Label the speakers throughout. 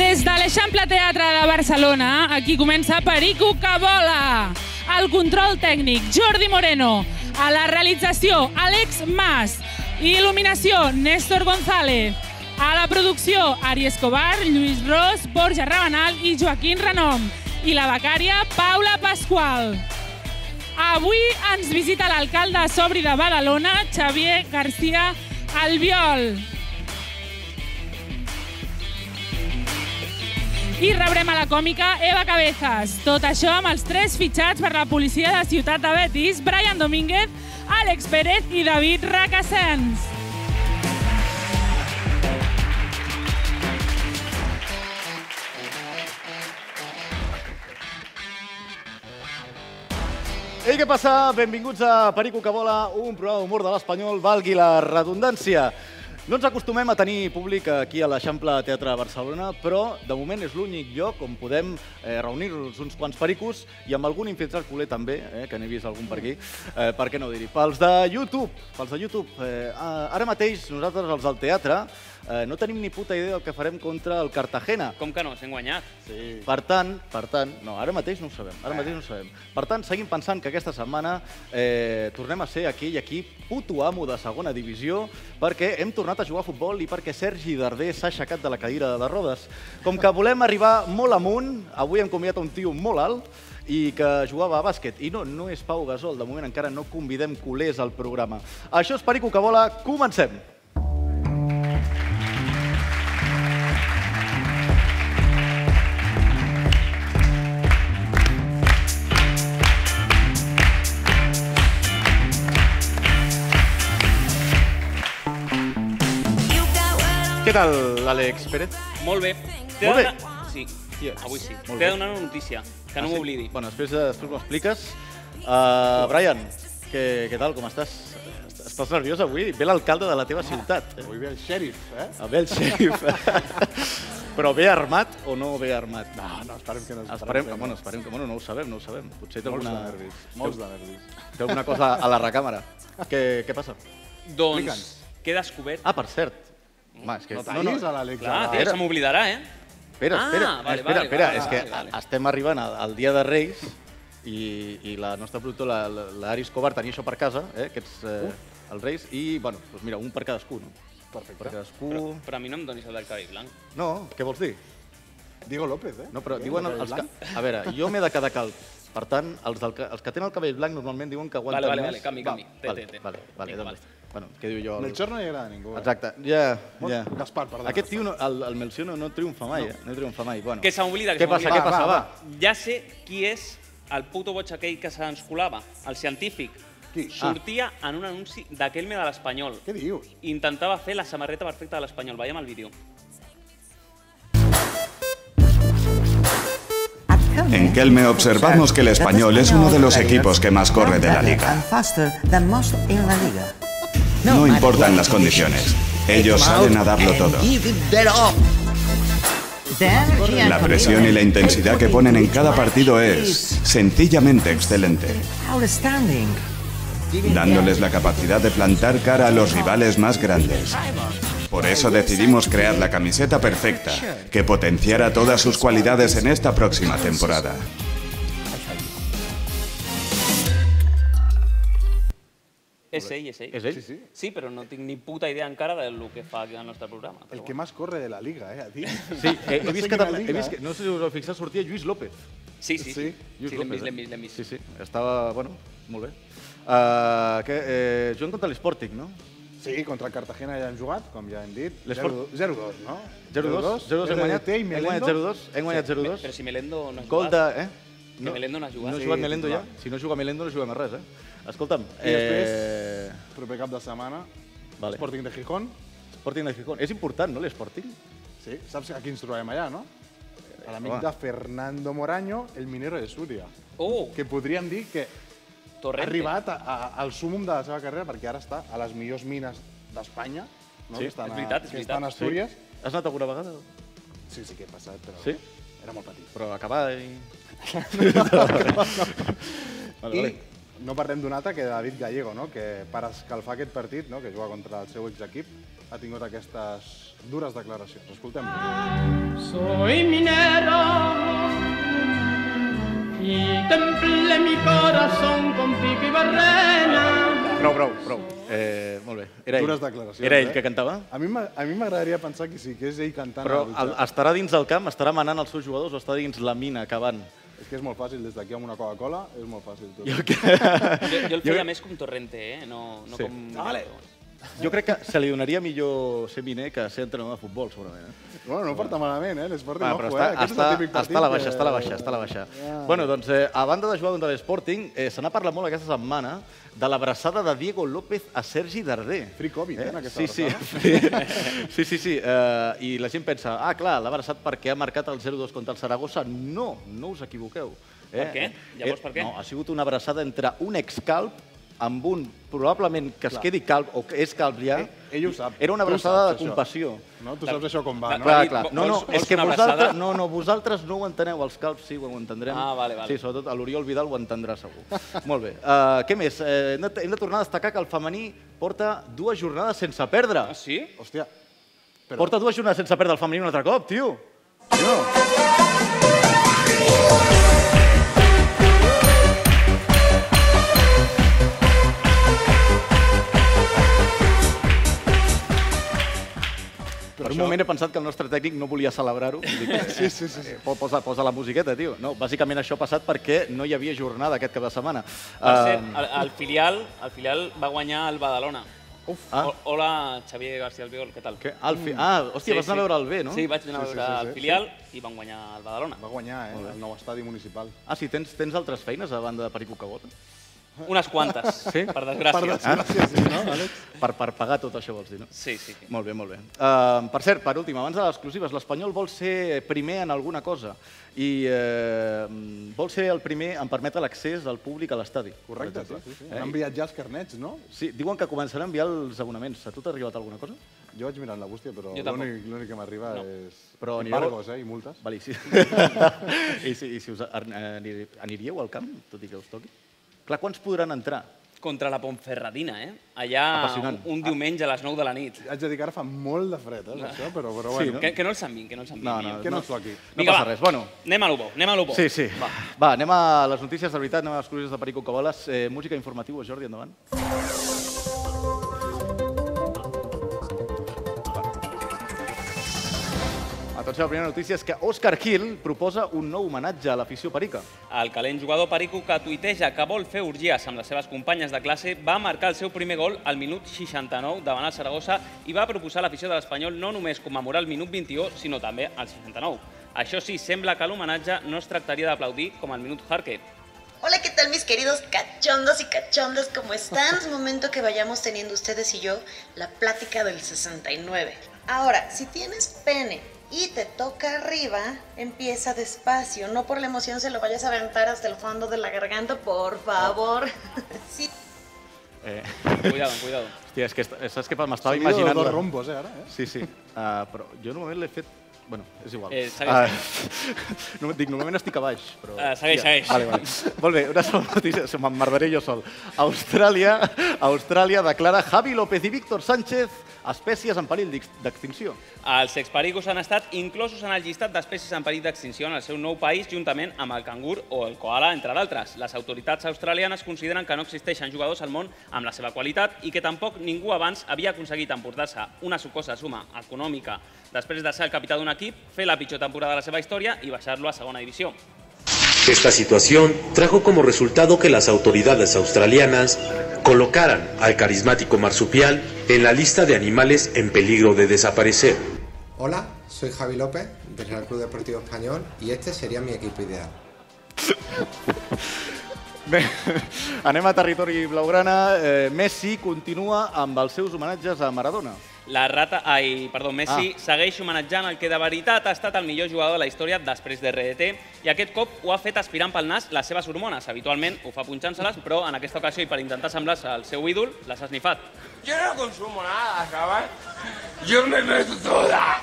Speaker 1: l'Eixample Teatre de Barcelona, aquí comença Perico que vola. Al control tècnic, Jordi Moreno. A la realització, Àlex Mas. Il·luminació, Néstor González. A la producció, Ari Escobar, Lluís Ros, Borja Rabanal i Joaquín Renom. I la becària, Paula Pasqual. Avui ens visita l'alcalde sobri de Badalona, Xavier García Albiol. I rebrem a la còmica Eva Cabezas. Tot això amb els tres fitxats per la policia de Ciutat de Betis, Brian Domínguez, Àlex Pérez i David Racassens.
Speaker 2: Ei, què passa? Benvinguts a Perico que vola, un programa d'humor de l'Espanyol, valgui la redundància. No ens acostumem a tenir públic aquí a l'Eixample Teatre de Barcelona, però de moment és l'únic lloc on podem eh, reunir-nos uns quants pericos i amb algun infiltrat culer també, eh, que n'he vist algun per aquí, eh, per què no dir-hi. Pels de YouTube, pels de YouTube, eh, ara mateix nosaltres els del teatre eh, no tenim ni puta idea del que farem contra el Cartagena.
Speaker 3: Com que no? S'han guanyat.
Speaker 2: Sí. Per tant, per tant, no, ara mateix no ho sabem, ara mateix no ho sabem. Per tant, seguim pensant que aquesta setmana eh, tornem a ser aquell equip puto amo de segona divisió perquè hem tornat a jugar a futbol i perquè Sergi Darder s'ha aixecat de la cadira de les rodes. Com que volem arribar molt amunt, avui hem convidat un tio molt alt i que jugava a bàsquet. I no, no és Pau Gasol, de moment encara no convidem culers al programa. Això és Perico que vola, comencem! Què tal, l'Àlex Pérez?
Speaker 3: Molt bé. T'he
Speaker 2: Molt
Speaker 3: de
Speaker 2: bé.
Speaker 3: donar- Sí,
Speaker 2: Yes.
Speaker 3: avui sí.
Speaker 2: Molt
Speaker 3: T'he
Speaker 2: bé.
Speaker 3: de donar una notícia, que no
Speaker 2: Ah, sí?
Speaker 3: m'oblidi.
Speaker 2: Bueno, després, eh, després m'ho expliques. Uh, Brian, què, què tal, com estàs? Estàs nerviós avui? Ve l'alcalde de la teva ciutat. eh?
Speaker 4: Avui ve el xèrif, eh?
Speaker 2: Ah, Ve el xerif. Però ve armat o no ve armat?
Speaker 4: No, no, esperem que no.
Speaker 2: Esperem, que, bueno, esperem que, bueno, no ho sabem, no ho sabem. Potser té
Speaker 4: Molts de
Speaker 2: alguna,
Speaker 4: nervis, molts de nervis.
Speaker 2: té alguna cosa a la recàmera. Què, què passa?
Speaker 3: Doncs,
Speaker 4: explica'ns.
Speaker 3: que he descobert...
Speaker 2: Ah, per cert. Home, és que...
Speaker 4: Mm. No tallis a l'Àlex.
Speaker 3: Clar,
Speaker 4: ara.
Speaker 3: tio, se m'oblidarà, eh?
Speaker 2: Espera,
Speaker 3: Ah,
Speaker 2: espera,
Speaker 3: vale,
Speaker 2: espera,
Speaker 3: vale,
Speaker 2: espera.
Speaker 3: vale,
Speaker 2: és
Speaker 3: vale,
Speaker 2: que
Speaker 3: vale.
Speaker 2: a- estem arribant al, al Dia de Reis i, i la nostra productora, la- la- l'Ari Escobar, tenia això per casa, eh, aquests, eh, els Reis, i, bueno, doncs mira, un per cadascú, no? Per
Speaker 4: Perfecte.
Speaker 2: cadascú...
Speaker 3: Però, però a mi no em donis el del cabell blanc.
Speaker 2: Uh. No, què vols dir?
Speaker 4: Diego López, eh?
Speaker 2: No, però
Speaker 4: Eh,
Speaker 2: diuen
Speaker 4: López
Speaker 2: els que...
Speaker 4: Blanc.
Speaker 2: A veure, jo m'he de quedar calb. Per tant, els, del, ca- els que tenen el cabell blanc normalment diuen que aguanten
Speaker 3: vale,
Speaker 2: més.
Speaker 3: vale, canvi,
Speaker 2: Va,
Speaker 3: canvi. Té,
Speaker 2: vale,
Speaker 3: té, té.
Speaker 2: Vale, vale,
Speaker 3: Vinga,
Speaker 2: doncs, Bueno, què diu jo? El...
Speaker 4: Melchor no hi agrada a ningú. eh?
Speaker 2: Exacte, ja,
Speaker 4: Bon-
Speaker 2: ja.
Speaker 4: Gaspar, perdona,
Speaker 2: Aquest tio, no, el, el Melchor no, no triomfa mai, no. eh? No triomfa mai. Bueno.
Speaker 3: Que se m'oblida, que
Speaker 2: Què
Speaker 3: se
Speaker 2: passa,
Speaker 3: m'oblida.
Speaker 2: què passa,
Speaker 4: Va,
Speaker 2: va?
Speaker 4: va,
Speaker 3: Ja sé qui és el puto boig aquell que se'ns colava, el científic.
Speaker 2: Ah.
Speaker 4: Qui?
Speaker 3: Sortia en un anunci d'aquell me de l'Espanyol.
Speaker 4: Què dius?
Speaker 3: Intentava fer la samarreta perfecta de l'Espanyol. Veiem el vídeo.
Speaker 5: En Kelme observamos que el español es uno de los equipos que más corre de la liga. No importan las condiciones, ellos saben a darlo todo. La presión y la intensidad que ponen en cada partido es sencillamente excelente, dándoles la capacidad de plantar cara a los rivales más grandes. Por eso decidimos crear la camiseta perfecta, que potenciara todas sus cualidades en esta próxima temporada.
Speaker 3: És ell, és ell.
Speaker 2: És ell?
Speaker 4: Sí, sí.
Speaker 3: Sí, però no tinc ni puta idea encara del que fa aquí al nostre programa. Però
Speaker 4: El que
Speaker 3: bueno.
Speaker 4: más corre de la liga, eh? A ti.
Speaker 2: Sí, he, he
Speaker 4: No sé
Speaker 2: vist que
Speaker 4: quina
Speaker 2: també, he
Speaker 4: liga,
Speaker 2: vist que,
Speaker 4: eh?
Speaker 2: no sé si us heu fixat, sortia Lluís López.
Speaker 3: Sí, sí, sí.
Speaker 4: Sí,
Speaker 3: sí,
Speaker 2: Lluís
Speaker 3: l'hem vist,
Speaker 2: eh?
Speaker 3: l'hem vist, l'hem vist.
Speaker 2: Sí, sí, estava, bueno, molt bé. Uh, que, eh, Joan contra l'Sporting, no?
Speaker 4: Sí, contra el Cartagena ja hem jugat, com ja hem dit.
Speaker 2: L'Esport-
Speaker 4: 0-2, no?
Speaker 2: 0-2, 0-2, hem guanyat,
Speaker 4: RDT i
Speaker 2: hem guanyat
Speaker 4: Melendo.
Speaker 2: 0-2, hem guanyat
Speaker 3: Me- Però
Speaker 2: 0-2.
Speaker 3: si Melendo no ha
Speaker 2: Gol
Speaker 3: jugat.
Speaker 2: de, eh?
Speaker 3: Que Melendo no ha jugat.
Speaker 2: No ha
Speaker 3: Sí,
Speaker 2: jugat Melendo ja?
Speaker 4: titular.
Speaker 2: Si no juga Melendo no juguem a res, eh? Escolta'm,
Speaker 4: I després-
Speaker 2: eh,
Speaker 4: Proper cap de setmana.
Speaker 2: Vale.
Speaker 4: Sporting de Gijón.
Speaker 2: Sporting de Gijón. És important, no, l'Sporting?
Speaker 4: Sí, saps a qui ens trobem allà, no? A
Speaker 2: Eh, home.
Speaker 4: l'amic de Fernando Moraño, el minero de Súria.
Speaker 3: Oh,
Speaker 4: Que podríem dir que ha
Speaker 3: Torrente.
Speaker 4: arribat a, a, al súmum de la seva carrera perquè ara està a les millors mines d'Espanya, no?
Speaker 2: Sí,
Speaker 4: que estan
Speaker 3: és veritat,
Speaker 4: a,
Speaker 3: és
Speaker 4: que estan a
Speaker 3: veritat.
Speaker 4: Astúries.
Speaker 2: Has anat alguna vegada?
Speaker 4: Sí, sí, que he passat, però
Speaker 2: Sí?
Speaker 4: era molt petit.
Speaker 2: Però acabar i... Vale, vale.
Speaker 4: I no parlem d'un altre que David Gallego, no? que per escalfar aquest partit, no? que juga contra el seu exequip, ha tingut aquestes dures declaracions. Escoltem.
Speaker 6: Soy minero y templé mi corazón con pico y barrena.
Speaker 2: Prou, prou, prou. Eh, molt bé. Era ell.
Speaker 4: Dures declaracions.
Speaker 2: Era ell
Speaker 4: eh?
Speaker 2: que cantava?
Speaker 4: A mi m'a- a mi m'agradaria pensar que sí, que és ell cantant.
Speaker 2: Però
Speaker 4: a la
Speaker 2: el,
Speaker 4: dutxa.
Speaker 2: estarà dins del camp, estarà manant els seus jugadors o està dins la mina acabant?
Speaker 4: És que és molt fàcil, des d'aquí amb una Coca-Cola, és molt fàcil. Tot.
Speaker 2: Jo, que,
Speaker 3: Jo, jo el
Speaker 2: Jo-
Speaker 3: feia més com Torrente, eh? No, no
Speaker 2: Sí.
Speaker 3: com...
Speaker 2: jo crec que se li donaria millor ser miner que ser entrenador de futbol, segurament. Eh?
Speaker 4: Bueno, no porta malament, eh? L'Sporting
Speaker 2: Va,
Speaker 4: ojo,
Speaker 2: però
Speaker 4: eh?
Speaker 2: està,
Speaker 4: Aquest és el
Speaker 2: està,
Speaker 4: típic partit
Speaker 2: està a la baixa,
Speaker 4: que-
Speaker 2: està a la baixa, està a la baixa.
Speaker 4: Ja.
Speaker 2: Bueno, doncs, eh, a banda de jugar contra l'Sporting, eh, se n'ha parlat molt aquesta setmana de l'abraçada de Diego López a Sergi Darder.
Speaker 4: Free Covid, eh, en aquesta
Speaker 2: sí, sí. sí, sí, sí. eh, I la gent pensa, ah, clar, l'ha abraçat perquè ha marcat el 0-2 contra el Saragossa. No, no us equivoqueu. Eh?
Speaker 3: Per què? Llavors, per què?
Speaker 2: No, ha sigut una abraçada entre un excalp amb un, probablement, que es quedi calp o que és calp ja.
Speaker 4: Ell- ell ho sap.
Speaker 2: Era una
Speaker 4: Tu ho
Speaker 2: abraçada
Speaker 4: saps,
Speaker 2: de
Speaker 4: això.
Speaker 2: compassió.
Speaker 4: No? Tu saps això com va,
Speaker 3: Va, va.
Speaker 4: no?
Speaker 2: Clar,
Speaker 3: David,
Speaker 2: clar.
Speaker 3: vo-
Speaker 2: No, no, és que
Speaker 3: vols- vols una
Speaker 2: vosaltres,
Speaker 3: abraçada?
Speaker 2: no, no, vosaltres no ho enteneu, els calps sí ho entendrem.
Speaker 3: Ah, vale, vale.
Speaker 2: Sí, sobretot a l'Oriol Vidal ho entendrà segur. Molt bé. Uh, què més? Eh, hem de- hem de tornar a destacar que el femení porta dues jornades sense perdre.
Speaker 3: Ah, sí?
Speaker 4: Hòstia. Però-
Speaker 2: Porta dues jornades sense perdre el femení un altre cop, tio.
Speaker 4: No.
Speaker 2: Per un moment he pensat que el nostre tècnic no volia celebrar-ho. Dic, eh,
Speaker 4: Sí, sí, sí. sí.
Speaker 2: po- Posa, posa la musiqueta, tio. No, bàsicament això ha passat perquè no hi havia jornada aquest cap de setmana.
Speaker 3: Per
Speaker 2: Eh,
Speaker 3: cert, el, el, filial, el filial va guanyar el Badalona. Uf,
Speaker 2: ah.
Speaker 3: Hola, Xavier García Albiol, què tal?
Speaker 2: que, ah, el fi... ah, hòstia, vas anar a veure el B, no?
Speaker 3: Sí, vaig anar a
Speaker 4: Mm. Sí, sí,
Speaker 3: veure
Speaker 4: sí,
Speaker 3: el
Speaker 4: sí,
Speaker 3: filial i van guanyar el Badalona.
Speaker 4: Va guanyar, eh? El nou estadi municipal.
Speaker 2: Ah, sí, tens, tens altres feines a banda de Perico Cabot?
Speaker 3: Unes quantes,
Speaker 2: Sí?
Speaker 3: per desgràcia. Ah.
Speaker 4: Per desgràcia, sí, no, Àlex?
Speaker 2: Per, per pagar tot això, vols dir, no?
Speaker 3: Sí, sí. sí.
Speaker 2: Molt bé, molt bé. Uh, per cert, per últim, abans de les exclusives, l'Espanyol vol ser primer en alguna cosa i uh, vol ser el primer en permetre l'accés del públic a l'estadi.
Speaker 4: Correcte,
Speaker 2: per
Speaker 4: sí,
Speaker 2: exemple.
Speaker 4: sí, sí. Han enviat ja els carnets, no?
Speaker 2: Sí, diuen que començarà a enviar els abonaments. A tu t'ha arribat alguna cosa?
Speaker 4: Jo vaig mirant la bústia, però
Speaker 3: Jo tampoc.
Speaker 4: l'únic l'únic que m'arriba
Speaker 3: No.
Speaker 4: és...
Speaker 2: Però anireu-
Speaker 4: embargos, eh? I multes.
Speaker 2: Vale, i si, I si, i si us an- anir- aniríeu al camp, tot i que us toqui? Clar, quants podran entrar?
Speaker 3: Contra la Pontferradina, eh? Allà un,
Speaker 2: Apassionant. Ah.
Speaker 3: un diumenge a les 9 de la nit.
Speaker 4: Haig de dir que ara fa molt de fred, eh, això, però, però
Speaker 2: Sí,
Speaker 4: bueno.
Speaker 2: no?
Speaker 3: Que, que no el sambin, que no el sambin.
Speaker 2: No, no,
Speaker 4: Que no ens toqui.
Speaker 2: No
Speaker 3: Vinga,
Speaker 2: passa
Speaker 3: va.
Speaker 2: res. Bueno,
Speaker 3: Anem a l'Ubo, anem a l'Ubo.
Speaker 2: Sí, sí. Va.
Speaker 3: Va.
Speaker 2: Va, anem a les notícies de veritat, anem a les cruïses de Perico Caboles. Eh, música informativa, Jordi, endavant. Atenció, la primera notícia és que Òscar Gil proposa un nou homenatge a l'afició perica.
Speaker 3: El calent jugador Perico, que tuiteja que vol fer orgies amb les seves companyes de classe, va marcar el seu primer gol al minut 69 davant el Saragossa i va proposar a l'afició de l'Espanyol no només commemorar el minut 21, sinó també el 69. Això sí, sembla que l'homenatge no es tractaria d'aplaudir com al minut Harker.
Speaker 7: Hola, ¿qué tal mis queridos cachondos y cachondas? ¿Cómo están? Es momento que vayamos teniendo ustedes y yo la plática del 69. Ahora, si tienes pene y te toca arriba, empieza despacio. No por la emoción se lo vayas a aventar hasta el fondo de la garganta, por favor. Sí.
Speaker 2: Eh,
Speaker 3: Cuidado, cuidado.
Speaker 2: hòstia, és que est- saps què? M'estava
Speaker 4: Sonido de
Speaker 2: imaginant...
Speaker 4: Dos
Speaker 2: la-
Speaker 4: rombos, eh, ara, eh?
Speaker 2: Sí, sí. Uh, però jo normalment l'he fet... Bueno, és igual.
Speaker 3: Eh, segueix.
Speaker 2: uh, no, dic, normalment estic a baix, però...
Speaker 3: Eh, segueix, segueix.
Speaker 2: Vale, vale. Molt bé, una sola notícia, se m'emmerdaré jo sol. Austràlia, Austràlia declara Javi López i Víctor Sánchez espècies en perill d'ex- d'extinció.
Speaker 3: Els expericos han estat inclosos en el llistat d'espècies en perill d'extinció en el seu nou país, juntament amb el cangur o el koala, entre d'altres. Les autoritats australianes consideren que no existeixen jugadors al món amb la seva qualitat i que tampoc ningú abans havia aconseguit emportar-se una sucosa suma econòmica després de ser el capità d'un equip, fer la pitjor temporada de la seva història i baixar-lo a segona divisió.
Speaker 8: Esta situación trajo como resultado que las autoridades australianas colocaran al carismático marsupial en la lista de animales en peligro de desaparecer.
Speaker 9: Hola, soy Javi López del Real Club Deportivo Español y este sería mi equipo ideal.
Speaker 2: Bé, anem a territori blaugrana. Eh, Messi continua amb els seus homenatges a Maradona.
Speaker 3: La rata, ai, perdó, Messi
Speaker 2: Ah.
Speaker 3: ah. segueix homenatjant el que de veritat ha estat el millor jugador de la història després de RDT i aquest cop ho ha fet aspirant pel nas les seves hormones. Habitualment ho fa punxant-se-les, però en aquesta ocasió i per intentar semblar-se al seu ídol, les ha snifat.
Speaker 10: Yo no consumo nada, chaval. Yo me meto toda.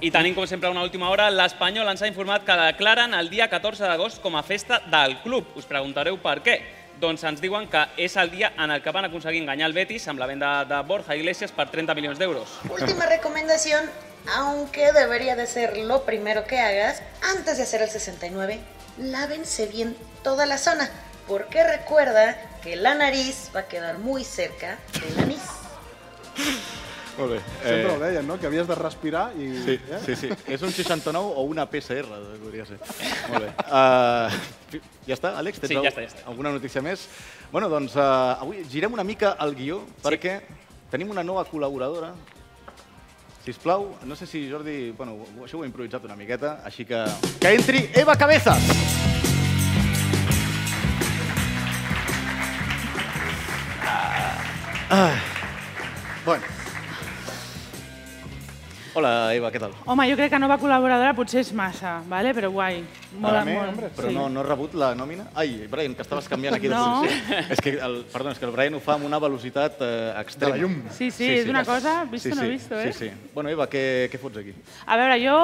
Speaker 3: I tenim, com sempre, a una última hora. L'Espanyol ens ha informat que declaren el dia 14 d'agost com a festa del club. Us preguntareu per què. doncs ens diuen que és el dia en el que van aconseguir enganyar el Betis amb la venda de Borja Iglesias per 30 milions d'euros.
Speaker 7: Última recomendación, aunque debería de ser lo primero que hagas, antes de hacer el 69, lávense bien toda la zona, porque recuerda que la nariz va a quedar muy cerca del anís.
Speaker 2: Molt bé. eh,
Speaker 4: Sempre ho deien, no? Que havies de respirar i...
Speaker 2: Sí,
Speaker 4: eh?
Speaker 2: sí, sí. És un 69 o una PCR, podria ser. Molt bé. Uh, ja està, Àlex? Tens
Speaker 3: Sí, ja està, ja
Speaker 2: alguna notícia més? Bueno, doncs uh, avui girem una mica el guió perquè tenim una nova col·laboradora. Si us plau, no sé si Jordi... Bueno, ho- això ho he improvisat una miqueta, així que... Que entri Eva Cabezas! Ah. Bueno. Hola, Eva, què tal?
Speaker 11: Home, jo crec que nova col·laboradora potser és massa, vale? però guai. Mola
Speaker 2: Ara,
Speaker 11: molt.
Speaker 2: Però no, no has rebut la nòmina? Ai, Brian, que estaves canviant aquí de
Speaker 11: No.
Speaker 2: posició. És que el, perdó, és que el Brian ho fa amb una velocitat eh, extrema.
Speaker 11: De la llum. Sí, sí, és una cosa, visto
Speaker 2: sí,
Speaker 11: no
Speaker 2: sí,
Speaker 11: visto, eh?
Speaker 2: Sí, sí. Bueno, Eva, què, què fots aquí?
Speaker 11: A veure, jo,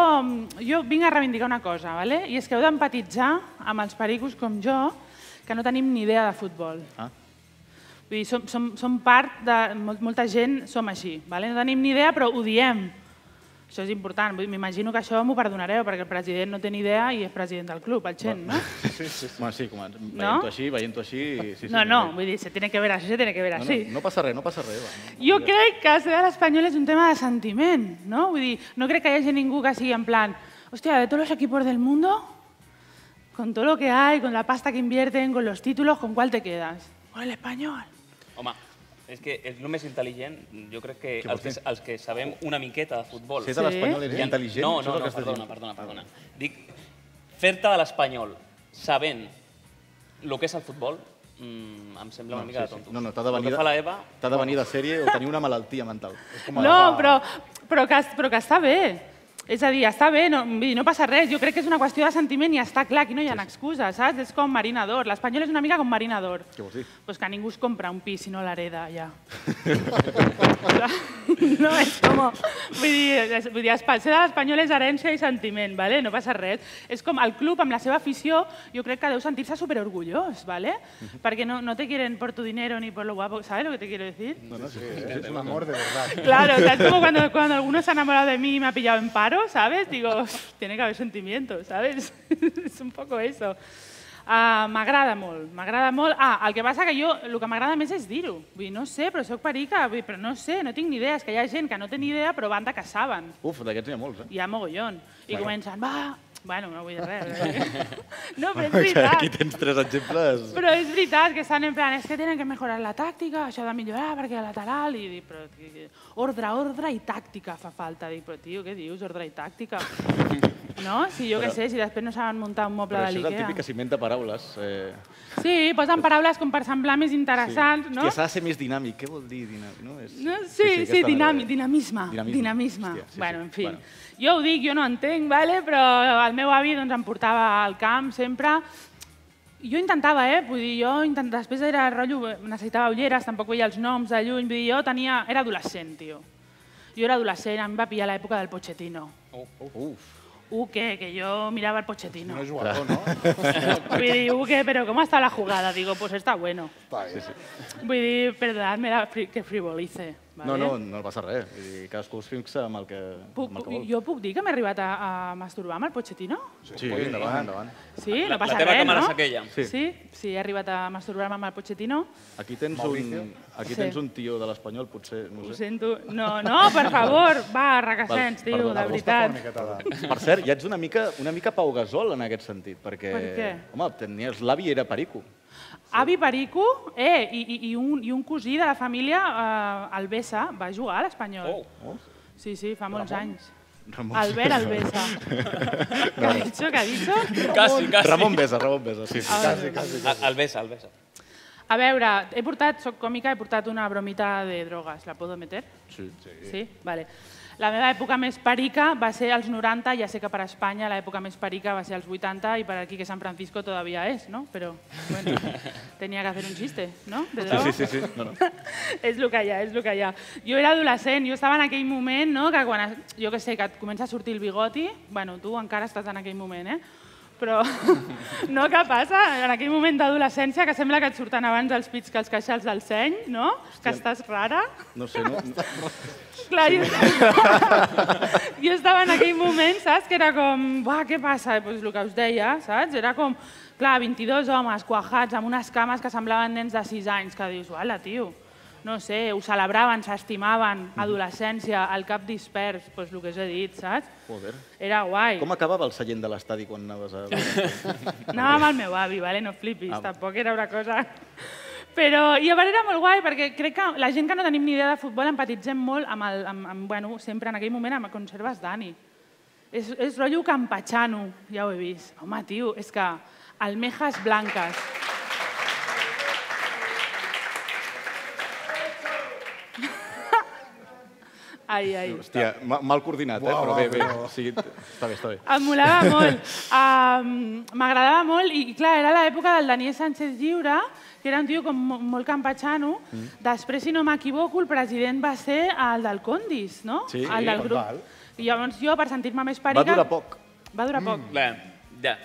Speaker 11: jo vinc a reivindicar una cosa, vale? i és que heu d'empatitzar amb els pericos com jo, que no tenim ni idea de futbol.
Speaker 2: Ah.
Speaker 11: Vull dir, som, som, som part de... Molt, molta gent som així, vale? no tenim ni idea, però ho diem. Això és important. Vull dir, M'imagino que això m'ho perdonareu, perquè el president no té ni idea i és president del club, el Chen, no?
Speaker 2: Sí, sí, sí. Bueno, sí, com,
Speaker 11: No?
Speaker 2: veient-ho així, veient-ho així... Sí, sí,
Speaker 11: No, no, vull dir, se tiene que ver així, se tiene que ver
Speaker 2: no,
Speaker 11: així.
Speaker 2: no, no passa res, no passa res, Eva.
Speaker 11: Jo crec que ser de l'Espanyol és un tema de sentiment, no? Vull dir, no crec que hi hagi ningú que sigui en plan hòstia, de tots els equipos del mundo, con todo lo que hay, con la pasta que invierten, con los títulos, ¿con cuál te quedas? Con el Espanyol.
Speaker 3: Home, és que és el més intel·ligent, jo crec que
Speaker 2: Què vols
Speaker 3: els que, els que sabem una miqueta de futbol...
Speaker 2: Ser de l'Espanyol pues és
Speaker 3: Ja-
Speaker 2: intel·ligent?
Speaker 3: No,
Speaker 2: Això és
Speaker 3: no,
Speaker 2: el que
Speaker 3: no,
Speaker 2: estàs
Speaker 3: perdona,
Speaker 2: dient. Ah,
Speaker 3: perdona, perdona. Dic, fer-te de l'Espanyol sabent el que és el futbol, mm, em sembla una mica de tonto.
Speaker 2: No, no, t'ha de venir,
Speaker 3: El que fa la Eva... pues,
Speaker 2: t'ha de, venir de sèrie o tenir una malaltia mental. És com
Speaker 11: No, però, però, que, però que està bé. És a dir, està bé, no, vull dir, no passa res. Jo crec que és una qüestió de sentiment i està clar, aquí no hi ha excuses, saps? És com marinador. L'Espanyol és una mica com marinador.
Speaker 2: Què vols dir?
Speaker 11: Pues que ningú es compra un pis si no l'hereda, ja. no, és com... Vull dir, és- vull dir espa- ser de l'Espanyol és herència i sentiment, vale? no passa res. És com el club, amb la seva afició, jo crec que deu sentir-se superorgullós, vale? perquè no, no te quieren por tu dinero ni por lo guapo, ¿sabes lo que te quiero decir?
Speaker 4: No, no, sí, és un amor de verdad.
Speaker 11: Claro, o sea, es como cuando, cuando alguno se ha enamorado de mí y me ha pillado en paro, ¿sabes? Digo, tiene que haber sentimientos, ¿sabes? es un poco eso. Ah, m'agrada molt, m'agrada molt. Ah, el que passa que jo, el que m'agrada més és dir-ho. Vull dir, no sé, però sóc perica, vull dir, però no sé, no tinc ni idea. És que hi ha gent que no té ni idea, però banda que saben.
Speaker 2: Uf, d'aquests n'hi ha molts, eh?
Speaker 11: Hi ha mogollon. I
Speaker 2: Bueno.
Speaker 11: comencen, va... Bueno, no vull dir res. no, però és
Speaker 2: Que
Speaker 11: veritat.
Speaker 2: Aquí tens tres exemples.
Speaker 11: Però és veritat que estan en plan, és que tenen que millorar la tàctica, això de millorar perquè a lateral, i dic, però que- que- ordre, ordre i tàctica fa falta. Dic, però tio, què dius, ordre i tàctica? No? Si jo què
Speaker 2: Però-
Speaker 11: sé, si després no saben muntar un moble
Speaker 2: Però
Speaker 11: de
Speaker 2: això és el típic
Speaker 11: l'Ikea.
Speaker 2: que s'inventa paraules. Eh,
Speaker 11: Sí, posen paraules com per semblar més interessants,
Speaker 2: sí.
Speaker 11: no?
Speaker 2: Hòstia, s'ha de ser més dinàmic. Què vol dir dinàmic? No? És...
Speaker 11: No, sí, sí, sí
Speaker 2: aquesta
Speaker 11: dinami,
Speaker 2: merda.
Speaker 11: dinamisme.
Speaker 2: Dinamisme.
Speaker 11: Dinamisme. dinamisme.
Speaker 2: Hòstia, sí,
Speaker 11: bueno,
Speaker 2: sí.
Speaker 11: en fi.
Speaker 2: Bueno.
Speaker 11: Bueno. Jo ho dic, jo no entenc, vale? però el meu avi doncs, em portava al camp sempre. Jo intentava, eh? Vull dir, jo intent... després era rotllo, necessitava ulleres, tampoc veia els noms de lluny. Vull dir, jo tenia... era adolescent, tio. Jo era adolescent, em va pillar l'època del Pochettino.
Speaker 2: Uf.
Speaker 11: Uh, que, que yo miraba el Pochettino.
Speaker 4: No és jugador, no?
Speaker 11: Vull dir, uh, que, pero ¿cómo está la jugada? Digo, pues está bueno.
Speaker 4: Sí, sí.
Speaker 11: Vull dir, perdonadme la fri- que frivolice. Vale?
Speaker 2: No, no, no passa res. Vull dir, cadascú es fixa amb el que,
Speaker 11: Puc,
Speaker 2: amb el que vol.
Speaker 11: jo puc dir que m'he arribat a, a masturbar amb el Pochettino?
Speaker 2: Sí, endavant, endavant.
Speaker 11: Sí,
Speaker 3: La-
Speaker 11: no passa
Speaker 3: la teva
Speaker 11: res,
Speaker 3: càmera
Speaker 11: no?
Speaker 3: és aquella.
Speaker 11: Sí.
Speaker 2: Sí.
Speaker 11: sí, sí, he arribat a masturbar-me amb el Pochettino.
Speaker 2: Aquí tens,
Speaker 4: Mauricio.
Speaker 2: un, aquí
Speaker 11: Sí.
Speaker 2: tens un tio de l'Espanyol, potser, no
Speaker 11: Ho
Speaker 2: ho sé.
Speaker 11: sento. No, no, per favor, va,
Speaker 2: Val,
Speaker 11: racassens, tio, de
Speaker 2: perdona, vols
Speaker 11: veritat.
Speaker 2: Per cert, ja ets una mica, una mica Pau Gasol en aquest sentit, perquè...
Speaker 11: Per què?
Speaker 2: Home, tenies l'avi era perico.
Speaker 11: Avi Perico, eh, i, i, i, un, i un cosí de la família, eh, el Bessa, va jugar a l'Espanyol.
Speaker 2: Oh.
Speaker 11: Sí, sí, fa molts
Speaker 2: Ramon?
Speaker 11: anys.
Speaker 2: Ramon.
Speaker 11: Albert Albesa. ¿Qué ha dicho? ¿Qué ha dicho?
Speaker 3: Casi, casi.
Speaker 2: Ramon Besa, Ramon Besa, sí, sí.
Speaker 3: Casi, casi, casi. El besa, el besa.
Speaker 11: A veure, he portat, soc còmica, he portat una bromita de drogues. La puedo meter?
Speaker 2: Sí,
Speaker 11: Sí? Vale. La meva època més perica va ser als 90, ja sé que per a Espanya l'època més perica va ser als 80 i per aquí que San Francisco todavía és, ¿no? Però, bueno, tenia que hacer un chiste, ¿no? De droga.
Speaker 2: Sí, sí, sí. sí. No, no.
Speaker 11: és el que hi ha, és el que hi ha. Jo era adolescent, jo estava en aquell moment, no?, que quan, jo que sé, que et comença a sortir el bigoti, bueno, tu encara estàs en aquell moment, eh? Però no, què passa? En aquell moment d'adolescència que sembla que et surten abans els pits que els queixals del seny, no? Que estàs rara.
Speaker 2: No sé, no...
Speaker 11: Clar, jo, jo estava en aquell moment, saps? Que era com, va, què passa? Doncs pues el que us deia, saps? Era com, clar, 22 homes cuajats amb unes cames que semblaven nens de 6 anys, que dius, uala, tio, no sé, ho celebraven, s'estimaven, adolescència, el cap dispers, doncs pues el que us he dit, saps?
Speaker 2: Joder.
Speaker 11: Era guai.
Speaker 2: Com acabava el seient de l'estadi quan anaves a...
Speaker 11: Anava amb el meu avi, vale? no flipis,
Speaker 2: Ah.
Speaker 11: tampoc era una cosa... Però, i a veure, era molt guai, perquè crec que la gent que no tenim ni idea de futbol empatitzem molt amb, el, amb, amb bueno, sempre en aquell moment amb Conserves Dani. És, és rotllo campachano, ja ho he vist. Home, tio, és que almejas blanques. Ai, ai.
Speaker 2: Hòstia, ma- mal coordinat, eh?
Speaker 4: Uau,
Speaker 2: però bé, bé.
Speaker 4: però-
Speaker 2: O sigui, està bé, està bé.
Speaker 11: Em molava molt. Um, M'agradava molt i, i, clar, era l'època del Daniel Sánchez Lliure, que era un tio com mo- molt campatxano. Mm. Després, si no m'equivoco, el president va ser el del Condis, no?
Speaker 3: Sí,
Speaker 11: el del
Speaker 3: sí,
Speaker 11: grup.
Speaker 3: val.
Speaker 11: I llavors jo, per sentir-me més parica...
Speaker 2: poc. Mm.
Speaker 11: Va durar poc.
Speaker 3: Bé, ja.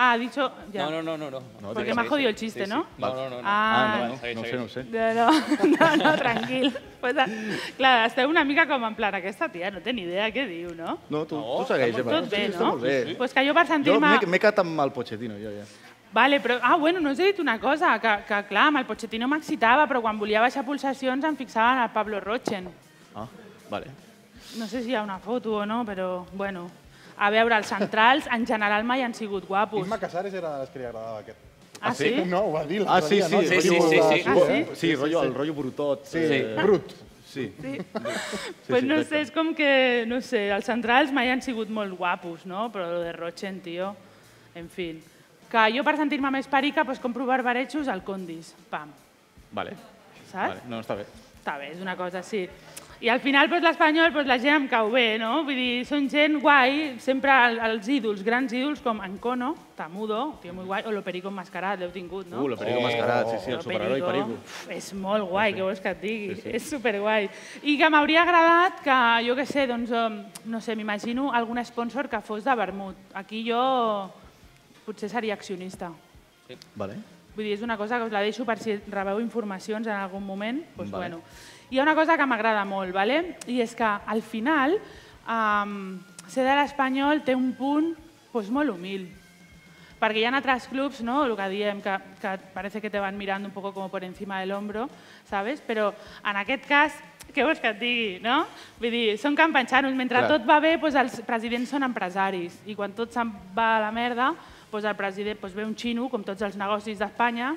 Speaker 11: Ah, ha dicho... Ja.
Speaker 3: No, no, no, no. no.
Speaker 11: Porque me ha jodido el chiste, ¿no?
Speaker 3: No, no, no. no.
Speaker 11: Ah,
Speaker 3: no, segueix, segueix.
Speaker 11: No, no, no, no tranquil. Pues, ah, clar, esteu una mica com en plan, aquesta tia no té ni idea què diu, no?
Speaker 2: No, tu, tu segueix,
Speaker 11: Tot
Speaker 2: Eva.
Speaker 11: bé,
Speaker 2: Sí, està
Speaker 11: no?
Speaker 2: molt bé.
Speaker 11: Pues que jo per
Speaker 2: Jo
Speaker 11: sentir-me...
Speaker 2: m'he m'he quedat amb el Pochettino, jo, ja.
Speaker 11: Vale, però, ah, bueno, no us he dit una cosa, que, que clar, amb el Pochettino m'excitava, però quan volia baixar pulsacions em fixava en el Pablo Rochen.
Speaker 2: Ah, vale.
Speaker 11: No sé si hi ha una foto o no, però, bueno. A veure, els centrals en general mai han sigut guapos.
Speaker 4: Isma Casares era de les que li agradava aquest.
Speaker 11: Ah, sí?
Speaker 4: No, ho va dir
Speaker 2: Ah,
Speaker 4: l'altre
Speaker 2: sí,
Speaker 4: dia,
Speaker 2: sí.
Speaker 4: no?
Speaker 2: el
Speaker 4: Diu,
Speaker 2: rotllo-
Speaker 4: la-
Speaker 11: Ah,
Speaker 2: bo- Sí, rotllo, el rotllo brutot.
Speaker 4: Sí,
Speaker 2: eh,
Speaker 4: brut.
Speaker 2: Sí.
Speaker 11: Sí.
Speaker 2: Sí,
Speaker 11: pues
Speaker 2: sí,
Speaker 11: no
Speaker 2: exacte.
Speaker 11: sé, és com que, no sé, els centrals mai han sigut molt guapos, no? Però lo de Rochen, tio, en fi. Que jo per sentir-me més perica, pues compro barbarejos al Condis, pam,
Speaker 2: Vale.
Speaker 11: saps?
Speaker 2: vale. No, està bé.
Speaker 11: Està bé, és una cosa així. I al final, doncs, l'espanyol, doncs, la gent em cau bé, no? Vull dir, són gent guai, sempre el- els ídols, grans ídols, com Ancono, Tamudo, tio, molt guai, o Loperico Mascarat, l'heu tingut, no?
Speaker 2: Uh, Loperico Mascarat, sí, sí, el superheroi Perico.
Speaker 11: Uf, És molt guai, què vols que et digui? És superguai. I que m'hauria agradat que, jo què sé, doncs, em, no sé, m'imagino algun sponsor que fos de vermut. Aquí jo potser seria accionista.
Speaker 2: Vale.
Speaker 11: Vull dir, és una cosa que us la deixo per si rebeu informacions en algun moment. Doncs,
Speaker 2: Vale.
Speaker 11: bueno. Hi ha una cosa que m'agrada molt, vale? i és que al final um, ser de l'Espanyol té un punt doncs, molt humil. Perquè hi ha altres clubs, no? el que diem, que, que parece que te van mirando un poco como por encima del hombro, ¿sabes? Però en aquest cas, què vols que et digui, no? Vull dir, són campanxanos. Mentre
Speaker 12: Clar.
Speaker 11: tot va bé, doncs els presidents són empresaris. I quan tot se'n va a la merda, doncs el president doncs ve un xino, com tots els negocis d'Espanya,